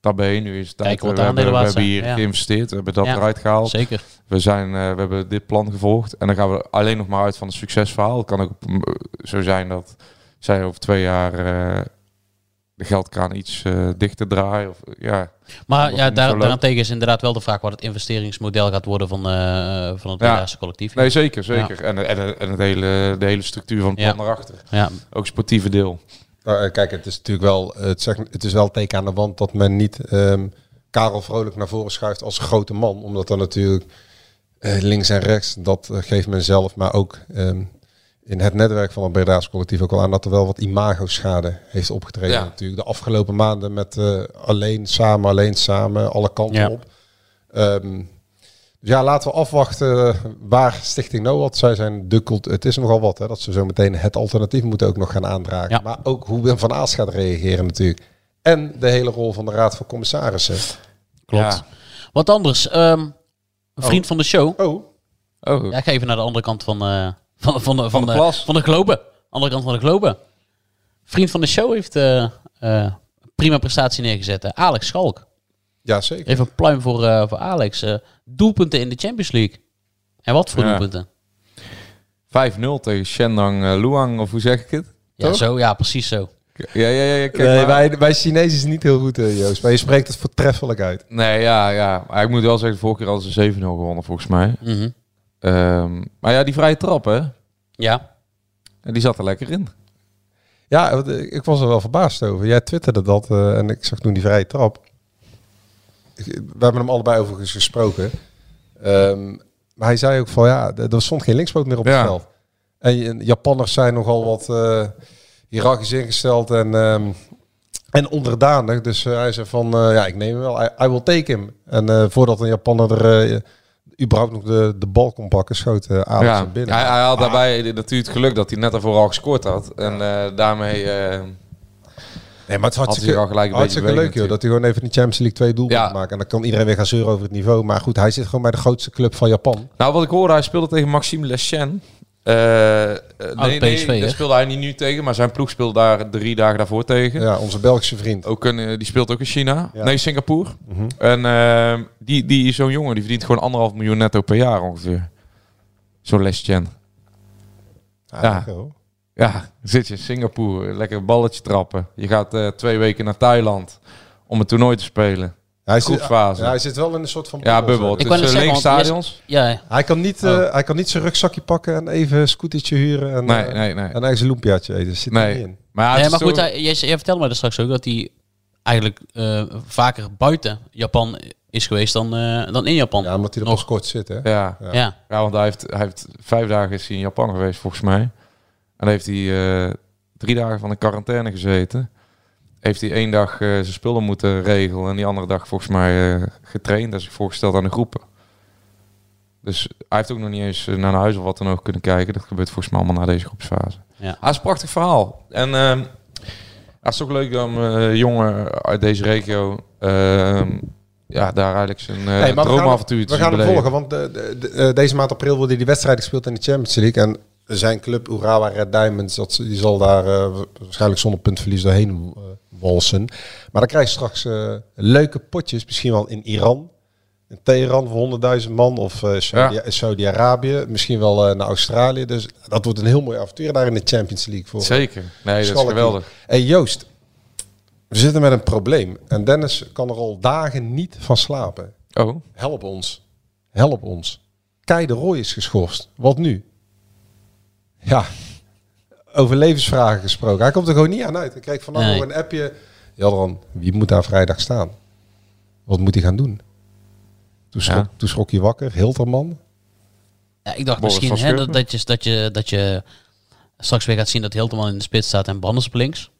Tabé, nu is het tijd. eh, Kijk wat we, de hebben, aandelen we waard hebben zijn, hier ja. geïnvesteerd, we hebben dat Ja. eruit gehaald. Zeker. We, zijn, eh, we hebben dit plan gevolgd. En dan gaan we alleen nog maar uit van het succesverhaal. Het kan ook eh, zo zijn dat zij over twee jaar eh, de geldkraan iets eh, dichter draaien. Of, eh, ja. Maar Wat ja, niet zo daar, loopt. daarentegen is inderdaad wel de vraag wat het investeringsmodel gaat worden van, eh, van het Ja. Bredaanse collectief. Nee, zeker, zeker. En, en, en het hele, de hele structuur van het plan Ja. daarachter. Ja, Ook sportieve deel. Nou, eh, kijk, het is natuurlijk wel, eh, het, zegt, het is wel een teken aan de wand dat men niet ehm, Karel Vrolijk naar voren schuift als grote man. Omdat dan natuurlijk eh, links en rechts, dat eh, geeft men zelf, maar ook ehm, in het netwerk van het Breda's collectief ook al aan dat er wel wat imago-schade heeft opgetreden. Ja. Natuurlijk de afgelopen maanden met eh, alleen samen, alleen samen, alle kanten Ja. op. Ehm, dus ja, laten we afwachten waar Stichting NOAD, zij zijn de cult, het is nogal wat hè, dat ze zo meteen het alternatief moeten ook nog gaan aandragen. Ja. Maar ook hoe Wim van Aas gaat reageren natuurlijk. En de hele rol van de Raad van Commissarissen. klopt. Ja. Wat anders, ehm, een vriend van de show. Oh, Oh, Ja, ik ga even naar de andere kant van, eh, van, van, de, van, de de, plas. Van de globe. Andere kant van de globe. Vriend van de show heeft eh, eh, prima prestatie neergezet. hè. Alex Schalk. ja zeker. Even een pluim voor, eh, voor Alex. Eh, doelpunten in de Champions League. En wat voor Ja. doelpunten? 5-0 tegen Shandong eh, Luang, of hoe zeg ik het? Ja, Toch? zo, ja, precies zo. Ja, ja, ja. ja, kijk nee, maar. wij, wij Chinezen is niet heel goed, eh, Joost. Maar je spreekt het voortreffelijk uit. Nee, ja, ja. Maar ik moet wel zeggen, de vorige keer hadden ze 7-0 gewonnen, volgens mij. Mhm. Ehm, maar ja, die vrije trap, hè? Ja, Die zat er lekker in. Ja, want, eh, ik was er wel verbaasd over. Jij twitterde dat eh, en ik zag toen die vrije trap. Ik- eh, We hebben hem allebei overigens gesproken. Ehm, maar hij zei ook van ja, d- er stond geen linkspoot meer op het Ja. veld. En je- Japanners zijn nogal wat eh hiërarchisch ingesteld en, ehm, en onderdanig. Dus eh, hij zei van eh, ja, ik neem hem wel. I, I will take him. En eh, voordat een Japanner er eh, überhaupt nog de, de bal kon pakken, schoot eh Alex ja. hem binnen. Hij, hij had daarbij natuurlijk het geluk dat hij net daarvoor al gescoord had. En eh, daarmee... eh, Nee, maar het Had hij is hartstikke, al gelijk een hartstikke beetje leuk, bewegend joh. Dat hij gewoon even in de Champions League twee doelpunten Ja. maakt. En dan kan iedereen weer gaan zeuren over het niveau. Maar goed, hij zit gewoon bij de grootste club van Japan. Nou, wat ik hoorde, hij speelde tegen Maxime Leschen. Eh, eh, nee, PSV, nee, daar hè? speelde hij niet nu tegen, maar zijn ploeg speelde daar drie dagen daarvoor tegen. Ja, onze Belgische vriend. Ook een, eh, die speelt ook in China. Ja. Mhm. Nee, Singapore. En ehm, die, die is zo'n jongen, die verdient gewoon anderhalf miljoen netto per jaar ongeveer. Zo'n Leschen. Ja. lekker, hoor. Ja, zit je in Singapore, lekker een balletje trappen. Je gaat eh, twee weken naar Thailand om een toernooi te spelen. Hij zit, Groepsfase. ja, hij zit wel in een soort van Ja, bubbel. zeg Dus maar. wou net eh, zeggen, lege want je- stadions? Ja, Hij kan, niet, eh, hij kan niet zijn rugzakje pakken en even een scootertje huren en Nee, eh, nee, nee. een eigen loempiaatje eten. Dat Zit er Nee. niet in. Maar, ja, het nee, is maar goed, zo- hij, jij, jij vertelde mij er straks ook dat hij eigenlijk eh, vaker buiten Japan is geweest dan, eh, dan in Japan. Ja, omdat hij er Nog. nog kort zit, hè? ja. Ja. Ja, want hij heeft, hij heeft vijf dagen is hij in Japan geweest, volgens mij. En heeft hij eh, drie dagen van de quarantaine gezeten. Heeft hij één dag eh, zijn spullen moeten regelen en die andere dag volgens mij eh, getraind en zich voorgesteld aan de groepen. Dus hij heeft ook nog niet eens eh, naar een huis of wat dan ook kunnen kijken. Dat gebeurt volgens mij allemaal na deze groepsfase. Ja. Ah, het is een prachtig verhaal. En ehm het is toch leuk om eh jongen uit deze regio ehm, ja, daar eigenlijk zijn eh Nee, maar we gaan, droomavontuur hem- te we gaan zien hem beleven. volgen, want de, de- de- eh, deze maand april worden die wedstrijd gespeeld in de Champions League. En zijn club Urawa Red Diamonds, dat, die zal daar eh, waarschijnlijk zonder puntverlies doorheen eh, walsen. Maar dan krijg je straks eh, leuke potjes, misschien wel in Iran. In Teheran voor 100.000 man of eh, Saudi- Ja. Saudi-Arabië, misschien wel eh, naar Australië. Dus dat wordt een heel mooi avontuur daar in de Champions League voor. eh, Zeker. Nee, dat is Schalke. geweldig. Hey Joost, we zitten met een probleem. En Dennis kan er al dagen niet van slapen. Oh, Help ons. Help ons. Kei de Roy is geschorst. Wat nu? Ja, over levensvragen gesproken. Hij komt er gewoon niet aan uit. Ik kreeg vandaag Nee. nog een appje. Jadran, wie moet daar vrijdag staan? Wat moet hij gaan doen? Toen schrok, Ja. toen schrok je wakker. Hilterman. Ja, ik dacht Boris misschien van hè, dat, Schurpen. dat, je, dat, je, dat je straks weer gaat zien dat Hilterman in de spits staat en Brandes op links.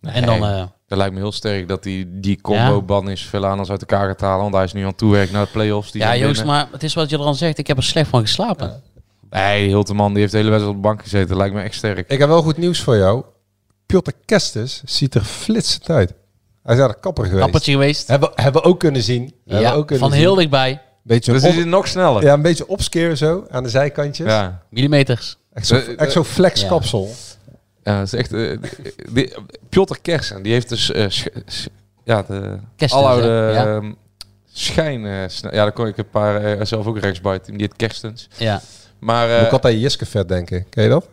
En dan, eh, dat lijkt me heel sterk dat die, die combo-ban is veel anders uit elkaar gaat halen. Want hij is nu aan het toewerken naar de play-offs. Die ja zijn Joost, binnen. maar het is wat je er dan zegt. Ik heb er slecht van geslapen. Nee, die Hilterman die heeft de hele wedstrijd op de bank gezeten. Dat lijkt me echt sterk. Ik heb wel goed nieuws voor jou. Piotr Kestes ziet er flitsend uit. Hij is naar de kapper geweest. Kappertje geweest. Hebben, hebben we ook kunnen zien. Hebben Ja, we ook kunnen van zien. heel dichtbij. beetje Dus op- is het nog sneller. ja, een beetje opskeren zo aan de zijkantjes. ja. Millimeters. Echt zo- Eh, echt zo'n flex ja. kapsel. Ja, dat is echt. eh, die- Piotr Kersen, die heeft dus. eh, sch- sch- ja, de Kerstens, aloude hè? Ja. ehm, schijn. eh, sne- ja, daar kon ik een paar eh, zelf ook rechtsbuiten. Die het Kerstens. Ja. Maar Moet eh ik altijd aan Jiske vet denken. Ken je dat?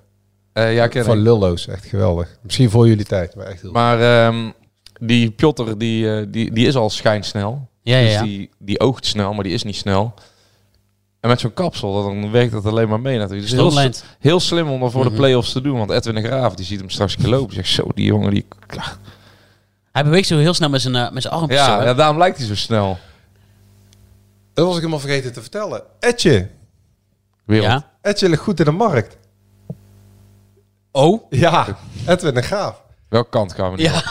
eh, ja, ik ken Van hem. Lullo's. Echt geweldig. Misschien voor jullie tijd. Maar echt heel Maar ehm, die Piotr, die, eh, die, die is al schijnsnel. Ja, ja, dus ja. Die, die oogt snel, maar die is niet snel. En met zo'n kapsel, dan werkt dat alleen maar mee natuurlijk. Dus heel, Stroomlijnd. s- heel slim om dat voor Mhm. de play-offs te doen. Want Edwin de Graaf, die ziet hem straks een keer lopen. Die zegt, zo, die jongen, die... ah, Hij beweegt zo heel snel met zijn, eh, met zijn armpjes. zo, Ja, hè. ja, daarom lijkt hij zo snel. Dat was ik helemaal vergeten te vertellen. Etje. Wereld. Ja. Etje ligt goed in de markt. Oh? Ja. Edwin de Graaf. Welke kant gaan we nu? Ja,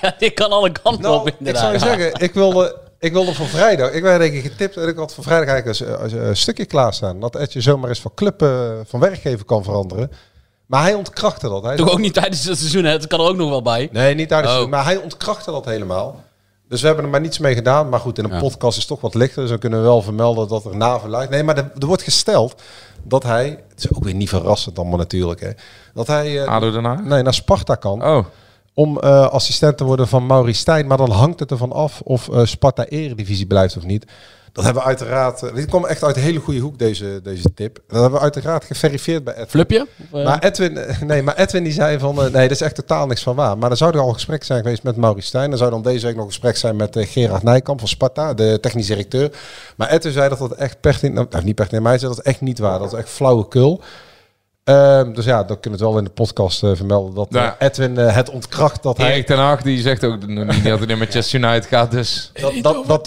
ja dit kan alle kanten Nou, op ik zou inderdaad. je zeggen. Ik wilde, ik wilde voor vrijdag. Ik werd denk ik getipt. En ik had voor vrijdag eigenlijk een, s- een stukje klaarstaan. Dat Etje zomaar eens van club eh, van werkgever kan veranderen. Maar hij ontkrachtte dat. Hij Toch ook niet tijdens het seizoen, hè? Dat kan er ook nog wel bij. Nee, niet tijdens Oh. het- Maar hij ontkrachtte dat helemaal. Dus we hebben er maar niets mee gedaan. Maar goed, in een Ja. podcast is het toch wat lichter. Dus dan kunnen we wel vermelden dat er naverluid. Nee, maar er, er wordt gesteld dat hij... Het is ook weer niet verrassend allemaal natuurlijk. Hè, dat hij eh, Ah, ADO daarna? nee, naar Sparta kan Oh, om eh, assistent te worden van Mauri Stijn. Maar dan hangt het ervan af of eh, Sparta eredivisie blijft of niet. Dat hebben we uiteraard... eh, dit kwam echt uit een hele goede hoek, deze, deze tip. Dat hebben we uiteraard geverifieerd bij Ed. Flupje? Of, eh, Maar Edwin, eh, nee, maar Edwin die zei van, eh, nee, dat is echt totaal niks van waar. Maar er zou er al gesprek zijn geweest met Maurice Stijn. Er zou dan deze week nog een gesprek zijn met eh, Gerard Nijkamp van Sparta, de technisch directeur. Maar Edwin zei dat dat echt pertinent, nou, niet pertinent, maar hij zei dat het echt niet waar. Dat is echt flauwekul. Ehm dus ja, dan kunnen we het wel in de podcast eh, vermelden dat eh, Ja. Edwin eh, het ontkracht dat hij, Erik ten Hag, die zegt ook nog niet dat hij naar Manchester United gaat. Dus dat, dat, dat,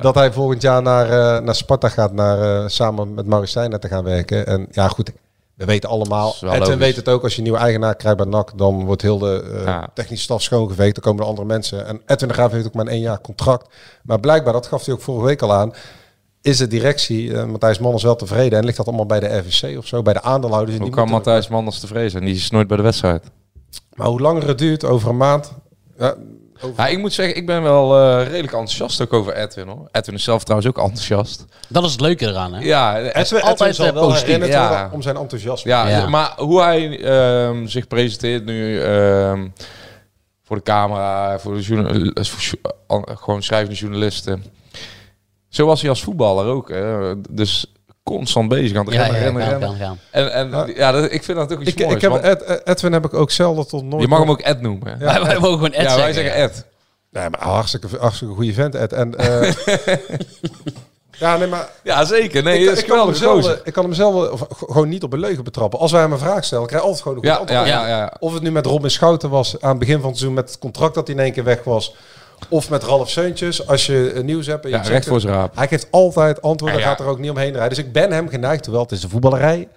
dat hij volgend jaar naar, eh, naar Sparta gaat, naar, eh, samen met Maurice Stijn te gaan werken. En ja, goed, we weten allemaal. is wel Edwin logisch. weet het ook, als je een nieuwe eigenaar krijgt bij NAC, dan wordt heel de eh, Ja. technische staf schoongeveegd. Dan komen er andere mensen. En Edwin de Graaf heeft ook maar een één jaar contract. Maar blijkbaar, dat gaf hij ook vorige week al aan, is de directie, eh, Matthijs Manners, wel tevreden. En ligt dat allemaal bij de RVC of zo, bij de aandeelhouders. En hoe die kan moeten- Matthijs Manders tevreden zijn? Die is nooit bij de wedstrijd. Maar hoe langer het duurt, over een maand... Ja, Ja, ik moet zeggen, ik ben wel eh, redelijk enthousiast ook over Edwin. Hoor. Edwin is zelf trouwens ook enthousiast. Dat is het leuke eraan, hè? Ja, Edwin, Edwin, altijd, Edwin zal eh, wel positief, herinnerd ja. worden om zijn enthousiasme. Ja, Ja. maar hoe hij ehm, zich presenteert nu ehm, voor de camera, voor de journa- eh, voor jo- an- gewoon schrijvende journalisten. Zo was hij als voetballer ook. hè. Dus constant bezig aan het rennen, rennen, gaan, rennen. gaan, gaan. En, en Ja. ja, dat, ik vind dat ook iets Ik, moois. ik heb want Ed- Edwin heb ik ook zelden tot nooit. je mag hem ook Ed noemen. hè? Ja, Wij, wij mogen gewoon Ed wij zeggen. zeggen Ed. Nee, maar hartstikke, hartstikke goede vent, Ed. En, eh, ja, nee, maar Ja, zeker. Nee, ik, dat is ik, kan hem geweldig zelf, gozer. wel- ik kan hem zelf wel- of, g- gewoon niet op een leugen betrappen. Als wij hem een vraag stellen, krijg je altijd gewoon een goed Ja, antwoord. ja, ja, ja. Of het nu met Robin Schouten was aan het begin van het seizoen met het contract dat hij in één keer weg was. Of met Ralf Seuntjes, als je eh, nieuws hebt. En je Ja, checkt recht voor het. zijn raap. Hij geeft altijd antwoorden, Ja, ja. gaat er ook niet omheen rijden. Dus ik ben hem geneigd, terwijl het is een voetballerij.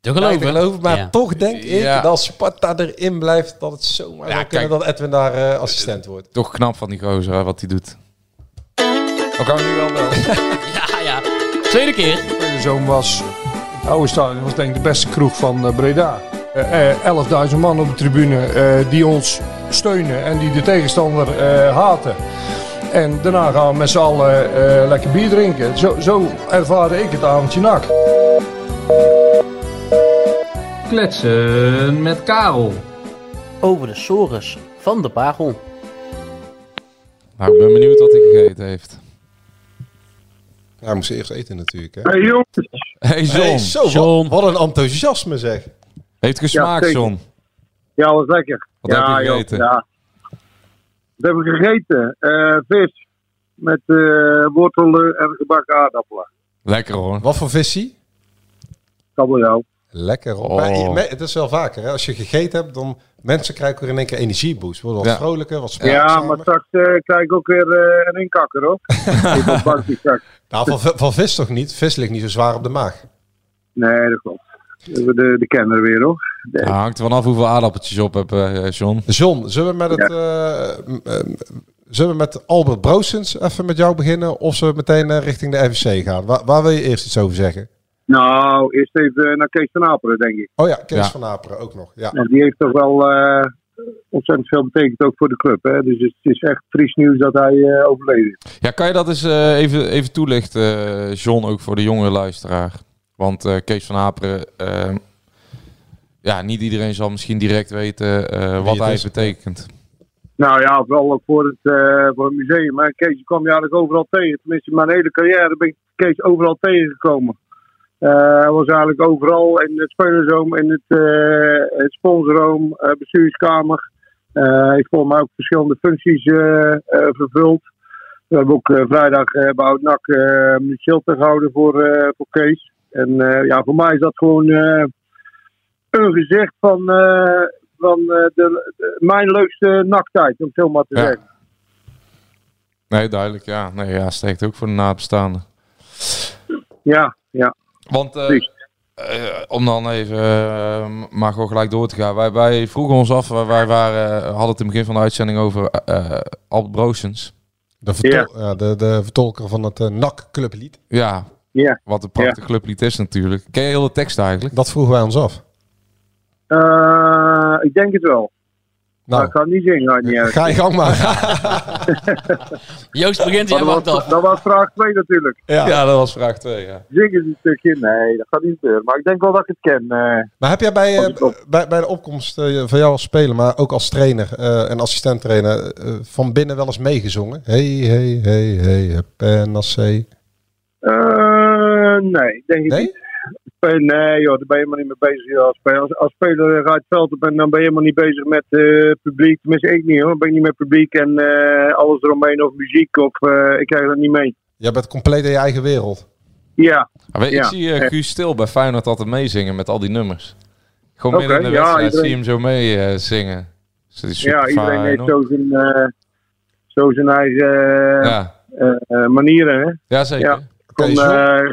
Te geneigd geloven. te geloven, maar Ja. toch denk ik Ja. dat als Sparta erin blijft, dat het zomaar Ja, zou kunnen kijk. dat Edwin daar eh, assistent wordt. Toch knap van die gozer, hè, wat hij doet. Dan gaan we Oh, nu wel bellen. Ja, ja. Tweede keer. Mijn zoon was, in het oude stadion was denk ik de beste kroeg van eh, Breda. Eh, eh, 11.000 man op de tribune eh, die ons steunen en die de tegenstander eh, haten. En daarna gaan we met z'n allen eh, lekker bier drinken. Zo, zo ervaarde ik het avondje nak. Kletsen met Karel. Over de sores van de parel. Nou, ik ben benieuwd wat hij gegeten heeft. Ja, hij moest eerst eten natuurlijk. Hè? Hey John, Hey, zo, wat- John. Wat, een enthousiasme zeg. heeft gesmaakt, Ja, zeker. John. Ja, was lekker. Wat ja, heb je joh, gegeten? ja. Wat hebben we gegeten? Eh, vis met eh, wortelen en gebakken aardappelen. Lekker hoor. Wat voor visie? Kabeljauw. Lekker hoor. Oh. Maar je- me- het is wel vaker. Hè? Als je gegeten hebt, dan mensen krijgen weer in één keer energieboost. Worden wat Ja. vrolijker, wat Ja, spraakzamer. maar straks eh, krijg ik ook weer eh, een inkakker hoor. Ik heb bakje straks. Nou, van, v- van vis toch niet? Vis ligt niet zo zwaar op de maag. Nee, dat klopt. Dat is De, de kenner weer hoor. Ja, hangt er vanaf hoeveel aardappeltjes je op hebt, eh, John. John, zullen we met, het, eh, m- eh, zullen we met Albert Broosens even met jou beginnen? Of zullen we meteen eh, richting de RVC gaan? Waar, waar wil je eerst iets over zeggen? Nou, eerst even naar Kees van Aperen denk ik. Oh ja, Kees Ja. van Aperen ook nog. Ja. En Nou, die heeft toch wel eh, ontzettend veel betekend ook voor de club. Hè? Dus het is echt triest nieuws dat hij eh, overleden is. Ja, kan je dat eens eh, even, even toelichten, eh, John, ook voor de jongere luisteraar? Want eh, Kees van Aperen, eh, ja, niet iedereen zal misschien direct weten eh, wat het hij is. betekent. Nou ja, vooral ook voor het, eh, voor het museum. Hè. Kees die kwam je eigenlijk overal tegen. Tenminste, mijn hele carrière ben ik Kees overal tegengekomen. Eh, Hij was eigenlijk overal in het spelersroom, in het, eh het sponsorroom, eh, bestuurskamer. Eh, Hij heeft volgens mij ook verschillende functies eh, eh, vervuld. We hebben ook eh, vrijdag eh, bij Oud-NAC eh, een schilte gehouden voor, eh, voor Kees. En eh, ja, voor mij is dat gewoon eh, een gezicht van, eh, van eh, de, de- mijn leukste nachttijd, om het zo maar te Ja. zeggen. Nee, duidelijk, ja. Nee, ja, steekt ook voor de nabestaanden. Ja, ja. Want eh, Precies. eh, om dan even eh, maar gewoon gelijk door te gaan. Wij, wij vroegen ons af, wij, wij waren, eh, hadden het in het begin van de uitzending over eh, Albert Broosens. De, vertol- ja, de, de vertolker van het eh, NAC-clublied. Ja, Ja. wat een prachtig clublied is natuurlijk. Ken je heel de tekst eigenlijk? Dat vroegen wij ons af. Eh, ik denk het wel. Maar Nou, ik ga het niet zingen, maakt niet uit. ga je gang maar. Joost begint, jij Maar maakt dat, was, af. dat was vraag 2 natuurlijk. Ja. dat was vraag 2, ja. Zingen ze een stukje? Nee, dat gaat niet gebeuren. Maar ik denk wel dat ik het ken. eh. Maar heb jij bij, eh, Pas op. bij, bij de opkomst eh, van jou als speler, maar ook als trainer eh, en assistent trainer, eh, van binnen wel eens meegezongen? Hey, hey, hey, hey, PNAC. Eh, nee, denk ik Nee? niet. Eh, Nee joh, daar ben je helemaal niet mee bezig. joh. Als speler, als, als speler eh, ga je het veld op en dan ben je helemaal niet bezig met eh, publiek. Tenminste, ik niet hoor. Dan ben ik niet met publiek en eh, alles eromheen of muziek. Of, eh, ik krijg dat niet mee. Jij bent compleet in je eigen wereld. Ja, Maar weet je, Ja. Ik zie eh, Guus Stil bij Feyenoord altijd meezingen met al die nummers. Gewoon Oké, midden in de ja, wedstrijd iedereen- zie je hem zo mee eh, zingen. Dus dat is ja super iedereen fijn, heeft hoor. zo zijn, eh, zo zijn eigen eh, Ja. eh, eh, manieren. Hè. ja, zeker. Ja. Oké, Kom, John, eh,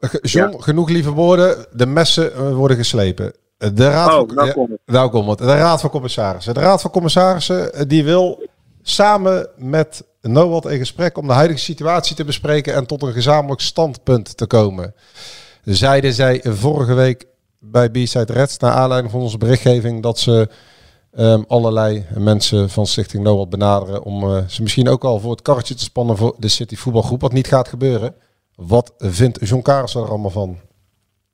Ge- John, genoeg lieve woorden. De messen eh, worden geslepen. Eh, De raad Oh, van, nou ja, komt het. nou komt het. De raad van commissarissen. De raad van commissarissen eh, die wil samen met NOWAT in gesprek om de huidige situatie te bespreken en tot een gezamenlijk standpunt te komen. Zeiden zij vorige week bij B-Side Reds naar aanleiding van onze berichtgeving dat ze ehm, allerlei mensen van Stichting NOWAT benaderen om eh, ze misschien ook al voor het karretje te spannen voor de City Voetbalgroep, wat niet gaat gebeuren. Wat vindt John Karelsen er allemaal van?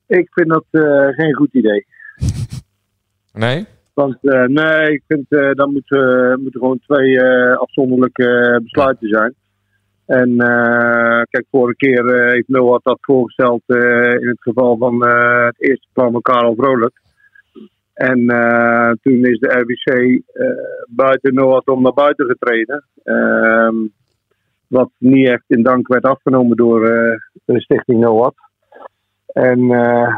Ik vind dat eh, geen goed idee. Nee? Want eh, nee, ik vind eh dat moet, eh, moeten gewoon twee eh, afzonderlijke eh, besluiten zijn. En eh, kijk, vorige keer eh, heeft Noah dat voorgesteld eh, in het geval van eh, het eerste plan van Karel Vrolijk. En eh, toen is de RWC eh, buiten Noah om naar buiten getreden. Ehm, wat niet echt in dank werd afgenomen door eh, de stichting NOAD. En eh,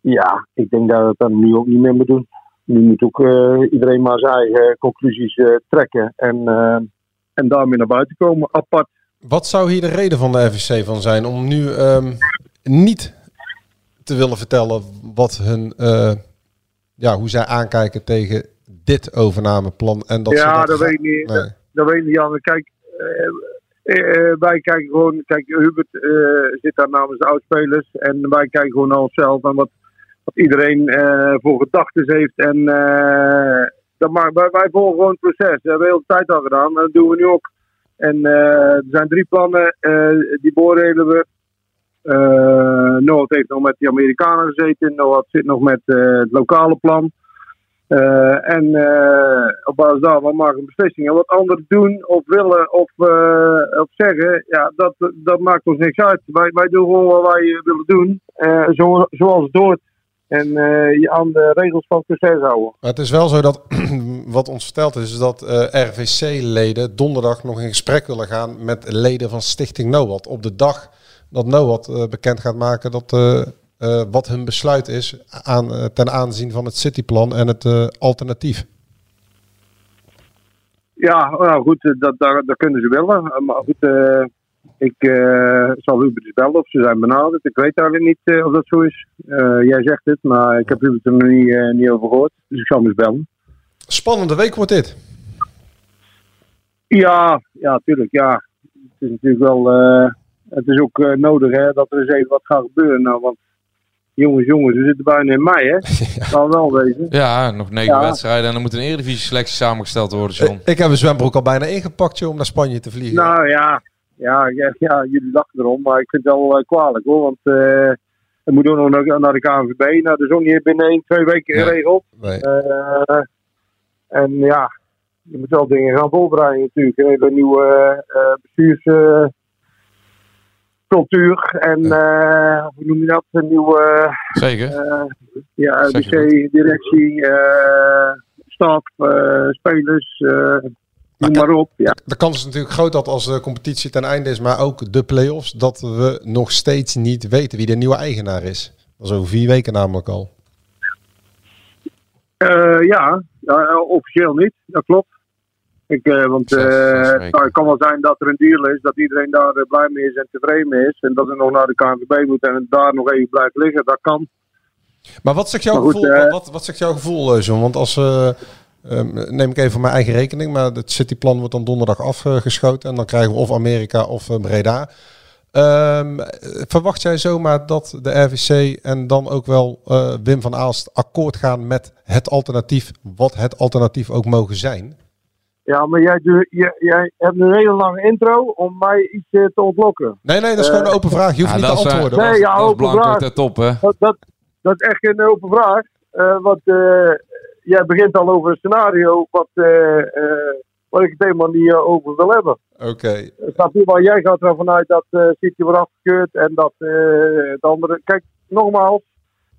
ja, ik denk dat we dat nu ook niet meer moet doen. Nu moet ook eh, iedereen maar zijn eigen conclusies eh, trekken en, eh, en daarmee naar buiten komen, apart. Wat zou hier de reden van de FSC van zijn om nu ehm, niet te willen vertellen wat hun, eh, ja, hoe zij aankijken tegen dit overnameplan en dat ja, ze dat, weet ik niet. Nee. Dat, dat weet ik niet, Jan. Kijk, eh, eh, eh, wij kijken gewoon... Kijk, Hubert eh, zit daar namens de oudspelers. En wij kijken gewoon naar onszelf en wat, wat iedereen eh, voor gedachten heeft. En eh, dat maakt, wij, wij volgen gewoon het proces. Dat hebben we de hele tijd al gedaan. Dat doen we nu ook. En eh, er zijn drie plannen. eh, die beoordelen we. Eh Noord heeft nog met die Amerikanen gezeten. Noord zit nog met eh, het lokale plan. Eh, en eh, op basis daarvan maken we een beslissing. En wat anderen doen of willen of, eh, of zeggen, ja, dat, dat maakt ons niks uit. Wij, wij doen gewoon wat wij eh, willen doen, eh, zo, zoals het hoort. En eh, je aan de regels van het proces houden. Maar het is wel zo dat, wat ons verteld is, is dat eh, RVC-leden donderdag nog in gesprek willen gaan met leden van Stichting NOWAT. Op de dag dat NOWAT eh, bekend gaat maken dat, eh, eh, wat hun besluit is aan, eh, ten aanzien van het cityplan en het eh, alternatief. Ja, nou goed, eh, dat, dat, dat kunnen ze willen. Eh, Maar goed, eh, ik eh, zal Hubert eens bellen of ze zijn benaderd. Ik weet eigenlijk niet eh, of dat zo is. Eh, jij zegt het, maar ik heb Hubert er nog niet, eh, niet over gehoord. Dus ik zal hem eens bellen. Spannende week wordt dit. Ja, ja, tuurlijk, ja. Het is natuurlijk wel... eh, het is ook eh, nodig hè, dat er eens even wat gaat gebeuren. Nou, want jongens, jongens, we zitten bijna in mei, hè. Kan wel wezen. Ja, nog negen Ja. wedstrijden en dan moet een Eredivisie selectie samengesteld worden, John. Eh, Ik heb een zwembroek al bijna ingepakt joh, om naar Spanje te vliegen. Nou ja. Ja, ja, ja, jullie lachen erom, maar ik vind het wel eh, kwalijk hoor. Want eh het moet ook nog naar, naar de KNVB. Nou, dat is ook niet binnen één, twee weken Nee. geregeld. Nee. Eh, en ja, je moet wel dingen gaan voorbereiden natuurlijk. We hebben een nieuwe eh, bestuurscultuur. en eh, hoe noem je dat? Een nieuwe. eh, Zeker. eh, ja, Zeg je RBC-directie, eh staf, eh, spelers, eh, noem maar op. Ja. De kans is natuurlijk groot dat als de competitie ten einde is, maar ook de play-offs, dat we nog steeds niet weten wie de nieuwe eigenaar is. Dat is over vier weken namelijk al. Eh, ja, Ja, officieel niet, dat klopt. Ik, eh, want eh, het kan- het kan wel zijn dat er een deal is, dat iedereen daar eh, blij mee is en tevreden mee is. En dat het nog naar de KNVB moet en het daar nog even blijft liggen, dat kan. Maar wat zegt jouw Maar goed, gevoel, eh, wat, wat zegt jouw gevoel eh, John? Want als, eh, ehm, neem ik even voor mijn eigen rekening, maar het cityplan wordt dan donderdag afgeschoten en dan krijgen we of Amerika of eh, Breda. Ehm, eh, verwacht jij zomaar dat de RVC en dan ook wel eh, Wim van Aalst akkoord gaan met het alternatief, wat het alternatief ook mogen zijn? Ja, maar jij, doe- jij, jij hebt een hele lange intro om mij iets eh, te ontlokken. Nee, nee, dat is gewoon een open vraag. Je hoeft Ja, niet te dat is, eh, antwoorden. Nee, hoor. ja, Dat is open Blanco vraag. ter top, hè? Dat, dat, dat is echt een open vraag. Eh, want eh, jij begint al over een scenario wat, eh, eh, wat ik het helemaal niet eh, over wil hebben. Oké. Snap je? Maar jij gaat ervan uit dat eh City wordt afgekeurd en dat eh het andere... Kijk, nogmaals,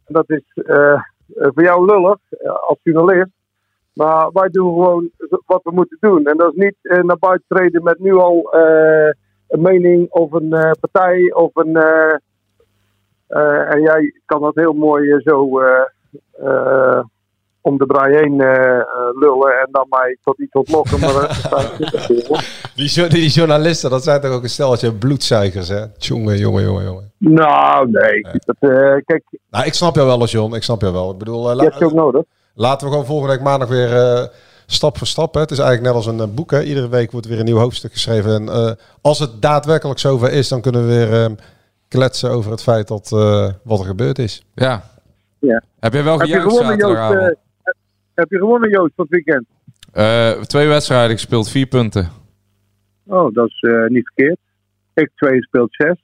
dat is eh, eh, voor jou lullig eh, als journalist. Maar wij doen gewoon wat we moeten doen. En dat is niet eh, naar buiten treden met nu al eh, een mening of een eh, partij of een... eh, eh, en jij kan dat heel mooi eh, zo eh, eh, om de braai heen eh, eh, lullen en dan mij tot iets ontlokken. Maar eh, dat is Die, jo- die journalisten, dat zijn toch ook een steltje bloedzuigers, hè? Tjonge, jonge, jonge, jonge. Nou, nee. Dat, eh, kijk, Nou, ik snap jou wel, John. Ik snap jou wel. Ik bedoel, eh, la- je hebt ze ook nodig. laten we gewoon volgende week maandag weer eh, stap voor stap. Hè. Het is eigenlijk net als een eh, boek. Hè. Iedere week wordt weer een nieuw hoofdstuk geschreven. En eh, als het daadwerkelijk zover is, dan kunnen we weer eh, kletsen over het feit dat eh, wat er gebeurd is. Ja. Ja. Heb jij wel Heb je gejuicht gewonnen, Joost? zaterdagavond? eh, heb- heb je gewonnen, Joost, van het weekend? Eh, twee wedstrijden gespeeld, vier punten. Oh, dat is eh, niet verkeerd. Ik twee speelt zes.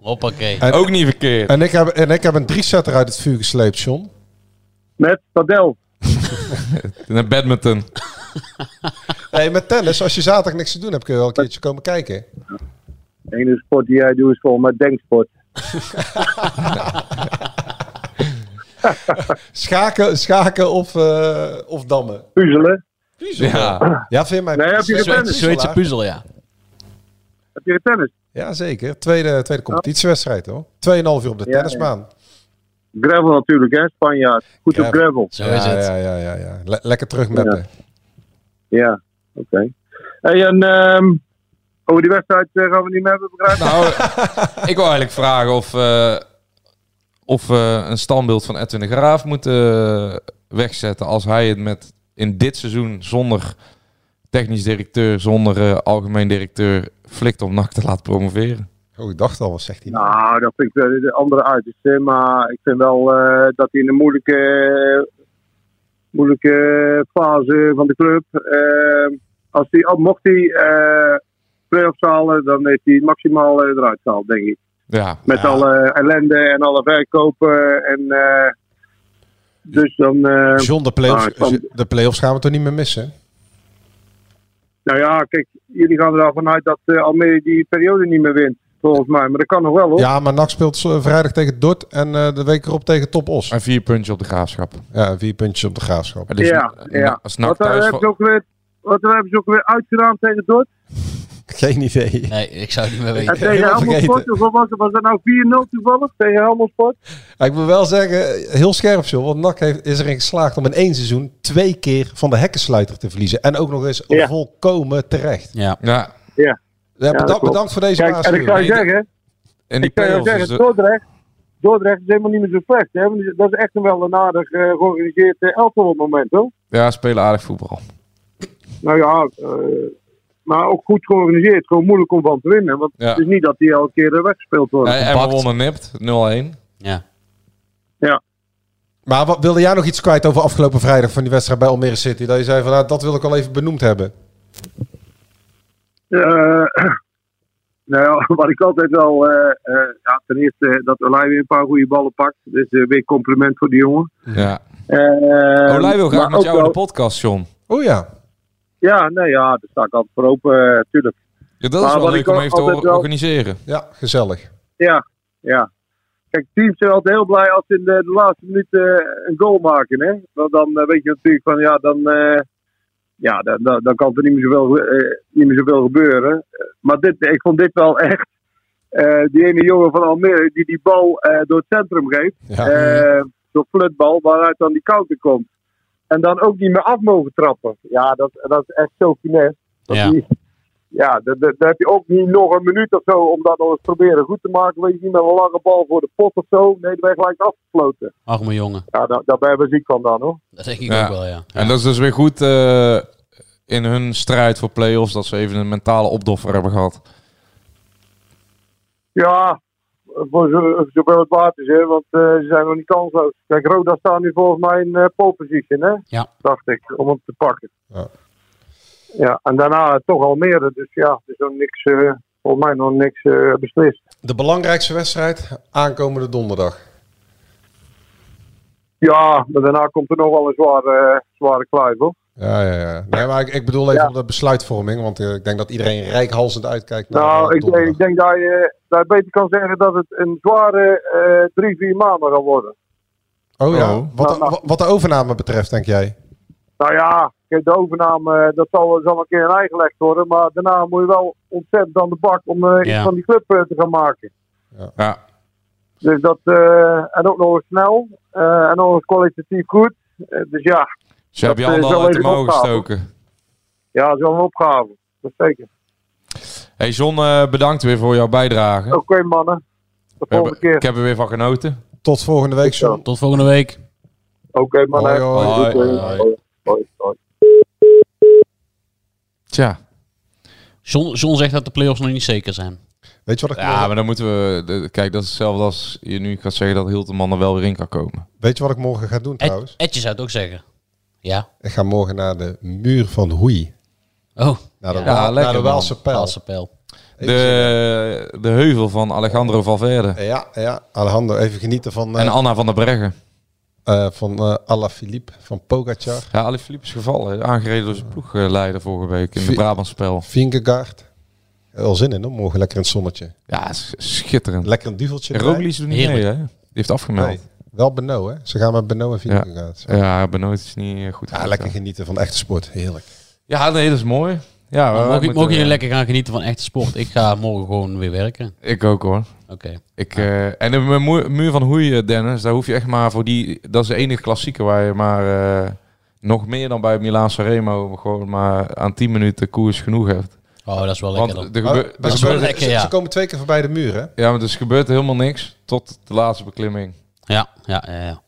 Hoppakee. En- Ook niet verkeerd. En ik heb, en ik heb een driesetter uit het vuur gesleept, John. Met Padel. Naar badminton. Nee, met tennis, als je zaterdag niks te doen hebt, kun je wel een keertje komen kijken. De enige sport die jij doet is volgens mij denksport. Schaken, schaken of, eh, of dammen. Puzzelen. Puzzelen? Ja. Ja, ja vind mij. Nee, heb je Zweedse- getennis? Zweedse puzzel, ja. Heb je tennis? Ja, zeker. Tweede, tweede competitiewedstrijd hoor. 2,5 uur op de Ja, tennisbaan. Gravel natuurlijk, hè, Spanjaard. Goed op Ja, gravel. ja, Ja, ja, ja, ja. Le- lekker terug met Ja, oké. Hey, en ehm, over die wedstrijd eh, gaan we niet meer hebben, begrijp ik? Nou, Ik wil eigenlijk vragen of, eh, of we een standbeeld van Edwin de Graaf moeten eh, wegzetten als hij het met in dit seizoen zonder technisch directeur, zonder eh, algemeen directeur flikt om NAC te laten promoveren. Oh, ik dacht al, wat zegt hij? Nou, dat vind ik eh, de andere uiterste. hè, Maar ik vind wel eh, dat hij in een moeilijke, moeilijke fase van de club. eh, als hij, al mocht hij eh play-offs halen, dan heeft hij maximaal eh, eruit gehaald, denk ik. Ja, Met alle ellende en alle verkopen. En, eh, dus dan. eh, John, de nou, ik playoffs, kan- de playoffs gaan we toch niet meer missen? Nou ja, kijk, jullie gaan er al vanuit dat eh, Almere die periode niet meer wint, volgens mij. Maar dat kan nog wel, hoor. Ja, maar NAC speelt eh, vrijdag tegen Dort en eh, de week erop tegen Top Os. en vier puntjes op de graafschap. Ja, vier puntjes op de graafschap. Maar dus ja, na- ja. Als NAC Wat eh, thuis hebben ze ook weer... Wat eh, hebben ze ook weer uitgedaan tegen Dordt? Geen idee. Nee, ik zou het niet meer En weten. tegen Helemaal Helmelsport, vergeten. hoeveel was het? Was dat nou 4-0 toevallig tegen Helmelsport? Ja, ik wil wel zeggen, heel scherp, joh. Want NAC heeft, is erin geslaagd om in één seizoen twee keer van de hekkensluiter te verliezen. En ook nog eens Ja. volkomen terecht. Ja. Ja, Ja, bedankt, klopt. bedankt voor deze Kijk, en ik zou je waarschuwing. zeggen, en die ik zou je play-offs is eh, zeggen de- Dordrecht, Dordrecht is helemaal niet meer zo slecht. Hè? Want Dat is echt een wel een aardig eh, georganiseerd eh, elftal op het moment, hoor. ja, spelen aardig voetbal. Nou ja, eh, maar ook goed georganiseerd. Gewoon moeilijk om van te winnen. Want Ja. het is niet dat die elke keer eh, weggespeeld worden. En, en we compact. wonnen nipt, 0-1. Ja. Maar wat, wilde jij nog iets kwijt over afgelopen vrijdag van die wedstrijd bij Almere City? Dat je zei van, nou, dat wil ik al even benoemd hebben. Eh, nou ja, wat ik altijd wel. eh, eh, ja, ten eerste dat Olij weer een paar goede ballen pakt. Dus eh, weer compliment voor die jongen. Ja. Eh, Olij wil graag maar met ook jou in de wel- podcast, John. Oh ja. Ja, nee, ja, daar sta ik altijd voor open, eh, tuurlijk. Ja, dat Maar is wel wat leuk ik om ook even te altijd or- wel- organiseren. Ja, gezellig. Ja, ja. Kijk, teams zijn altijd heel blij als ze in de, de laatste minuut eh, een goal maken. Hè? Want dan eh, weet je natuurlijk van ja, dan, eh, ja, dan, dan, dan kan er niet meer zoveel, eh, niet meer zoveel gebeuren. Eh, Maar dit, ik vond dit wel echt. eh, die ene jongen van Almere die die bal eh, door het centrum geeft. Ja. eh, door flutbal, waaruit dan die koude komt. En dan ook niet meer af mogen trappen. Ja, dat, dat is echt zo finesse. Dat Ja. die- ja, daar daar- daar heb je ook niet nog een minuut of zo om dat nog eens proberen goed te maken. Weet je niet, met een lange bal voor de pot of zo. Nee, dan ben je gelijk afgesloten. Arme jongen. Ja, daar, daar ben je wel ziek van dan hoor. Dat denk ik Ja. ook wel, ja. En dat is dus weer goed eh, in hun strijd voor play-offs dat ze even een mentale opdoffer hebben gehad. Ja, voor zo, zoveel het waard is, hè, want eh, ze zijn nog niet kansloos. Kijk, Roda staat nu volgens mij in eh pole position, hè? Ja. Dacht ik, om hem te pakken. Ja. Ja, en daarna toch al meer. Dus ja, er is nog niks, eh, volgens mij nog niks eh, beslist. De belangrijkste wedstrijd aankomende donderdag. Ja, maar daarna komt er nog wel een zware, eh, zware kluif, hoor. Ja, ja, ja. Nee, maar ik, ik bedoel even Ja. op de besluitvorming, want eh, ik denk dat iedereen rijkhalsend uitkijkt naar Nou, eh, ik, denk- donderdag. ik denk dat je, eh, dat je beter kan zeggen dat het een zware eh, drie, vier maanden gaat worden. Oh ja, Oh. Wat, de, Nou, wa- wat de overname betreft, denk jij? Nou ja, kijk, de overname, eh, dat zal, zal een keer een eigen gelegd worden. Maar daarna moet je wel ontzettend aan de bak om eh, Ja. iets van die club eh, te gaan maken. Ja, Dus dat, eh, en ook nog eens snel. eh, en nog eens kwalitatief goed. Eh, dus ja, ze hebben je eh, allemaal zal uit de even mouw ophouden. gestoken. ja, dat is wel een opgave. Dat zeker. Hey John, eh, bedankt weer voor jouw bijdrage. Oké mannen, de We volgende hebben- keer. ik heb er weer van genoten. Tot volgende week, John. Tot volgende week. Oké mannen. Hoi, hoi. Doei, doei. Hoi, hoi. Hoi, hoi, hoi. Tja, John, John zegt dat de play-offs nog niet zeker zijn. Weet je wat ik, mooi, ja, maar dan moeten we... de- Kijk, dat is hetzelfde als je nu gaat zeggen dat Hilterman er wel weer in kan komen. weet je wat ik morgen ga doen Ed, trouwens? Edje zou het ook zeggen. Ja. Ik ga morgen naar de muur van Hoei. Oh, Naar de, Ja. Waal- Ja, lekker, naar de man. Waalse Pijl. Waalse pijl. De, de heuvel van Alejandro Valverde Ja, ja. Alejandro, even genieten van... eh, en Anna van der Breggen. eh, van eh Alaphilippe, van Pogacar. Ja, Ali Philippe is gevallen. Aangereden door zijn ploegleider vorige week in het Vi- Brabantspel. Vingegaard. Wel zin in, hoor. Morgen lekker in het zonnetje. Ja, is schitterend. Lekker een duveltje. En erbij. Roglic doet niet mee, hè? Die heeft afgemeld. Nee, wel Beno, hè? Ze gaan met Beno en Ja, Vingegaard. ja benoemd is niet eh, goed. Ja, lekker genieten van echte sport. Heerlijk. Ja, nee, dat is mooi. Ja, we- we mogen, moeten- mogen jullie lekker gaan genieten van echte sport? Ik ga morgen gewoon weer werken. Ik ook hoor. Oké. Ik, eh, en de mu- muur van Hoei, eh, Dennis, daar hoef je echt maar voor die. Dat is de enige klassieker waar je maar eh, nog meer dan bij Milaan Sanremo gewoon maar aan 10 minuten koers genoeg hebt. Oh, dat is wel Want lekker er dan. Maar- gebe- er maar Oh, ze, gebeurt- lekker, ze- ja. ze komen twee keer voorbij de muur, hè? Ja, maar dus gebeurt helemaal niks tot de laatste beklimming. Ja, ja, ja, ja.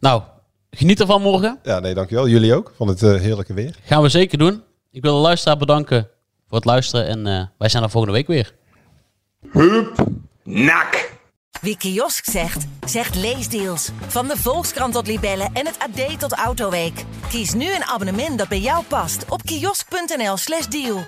Nou, geniet ervan morgen. Ja, nee, dankjewel. Jullie ook, van het eh, heerlijke weer. Gaan we zeker doen. Ik wil de luisteraar bedanken voor het luisteren. En eh, wij zijn er volgende week weer. Wie kiosk zegt, zegt leesdeals. Van de Volkskrant tot Libellen en het AD tot Autoweek. Kies nu een abonnement dat bij jou past op kiosk.nl/slash deal.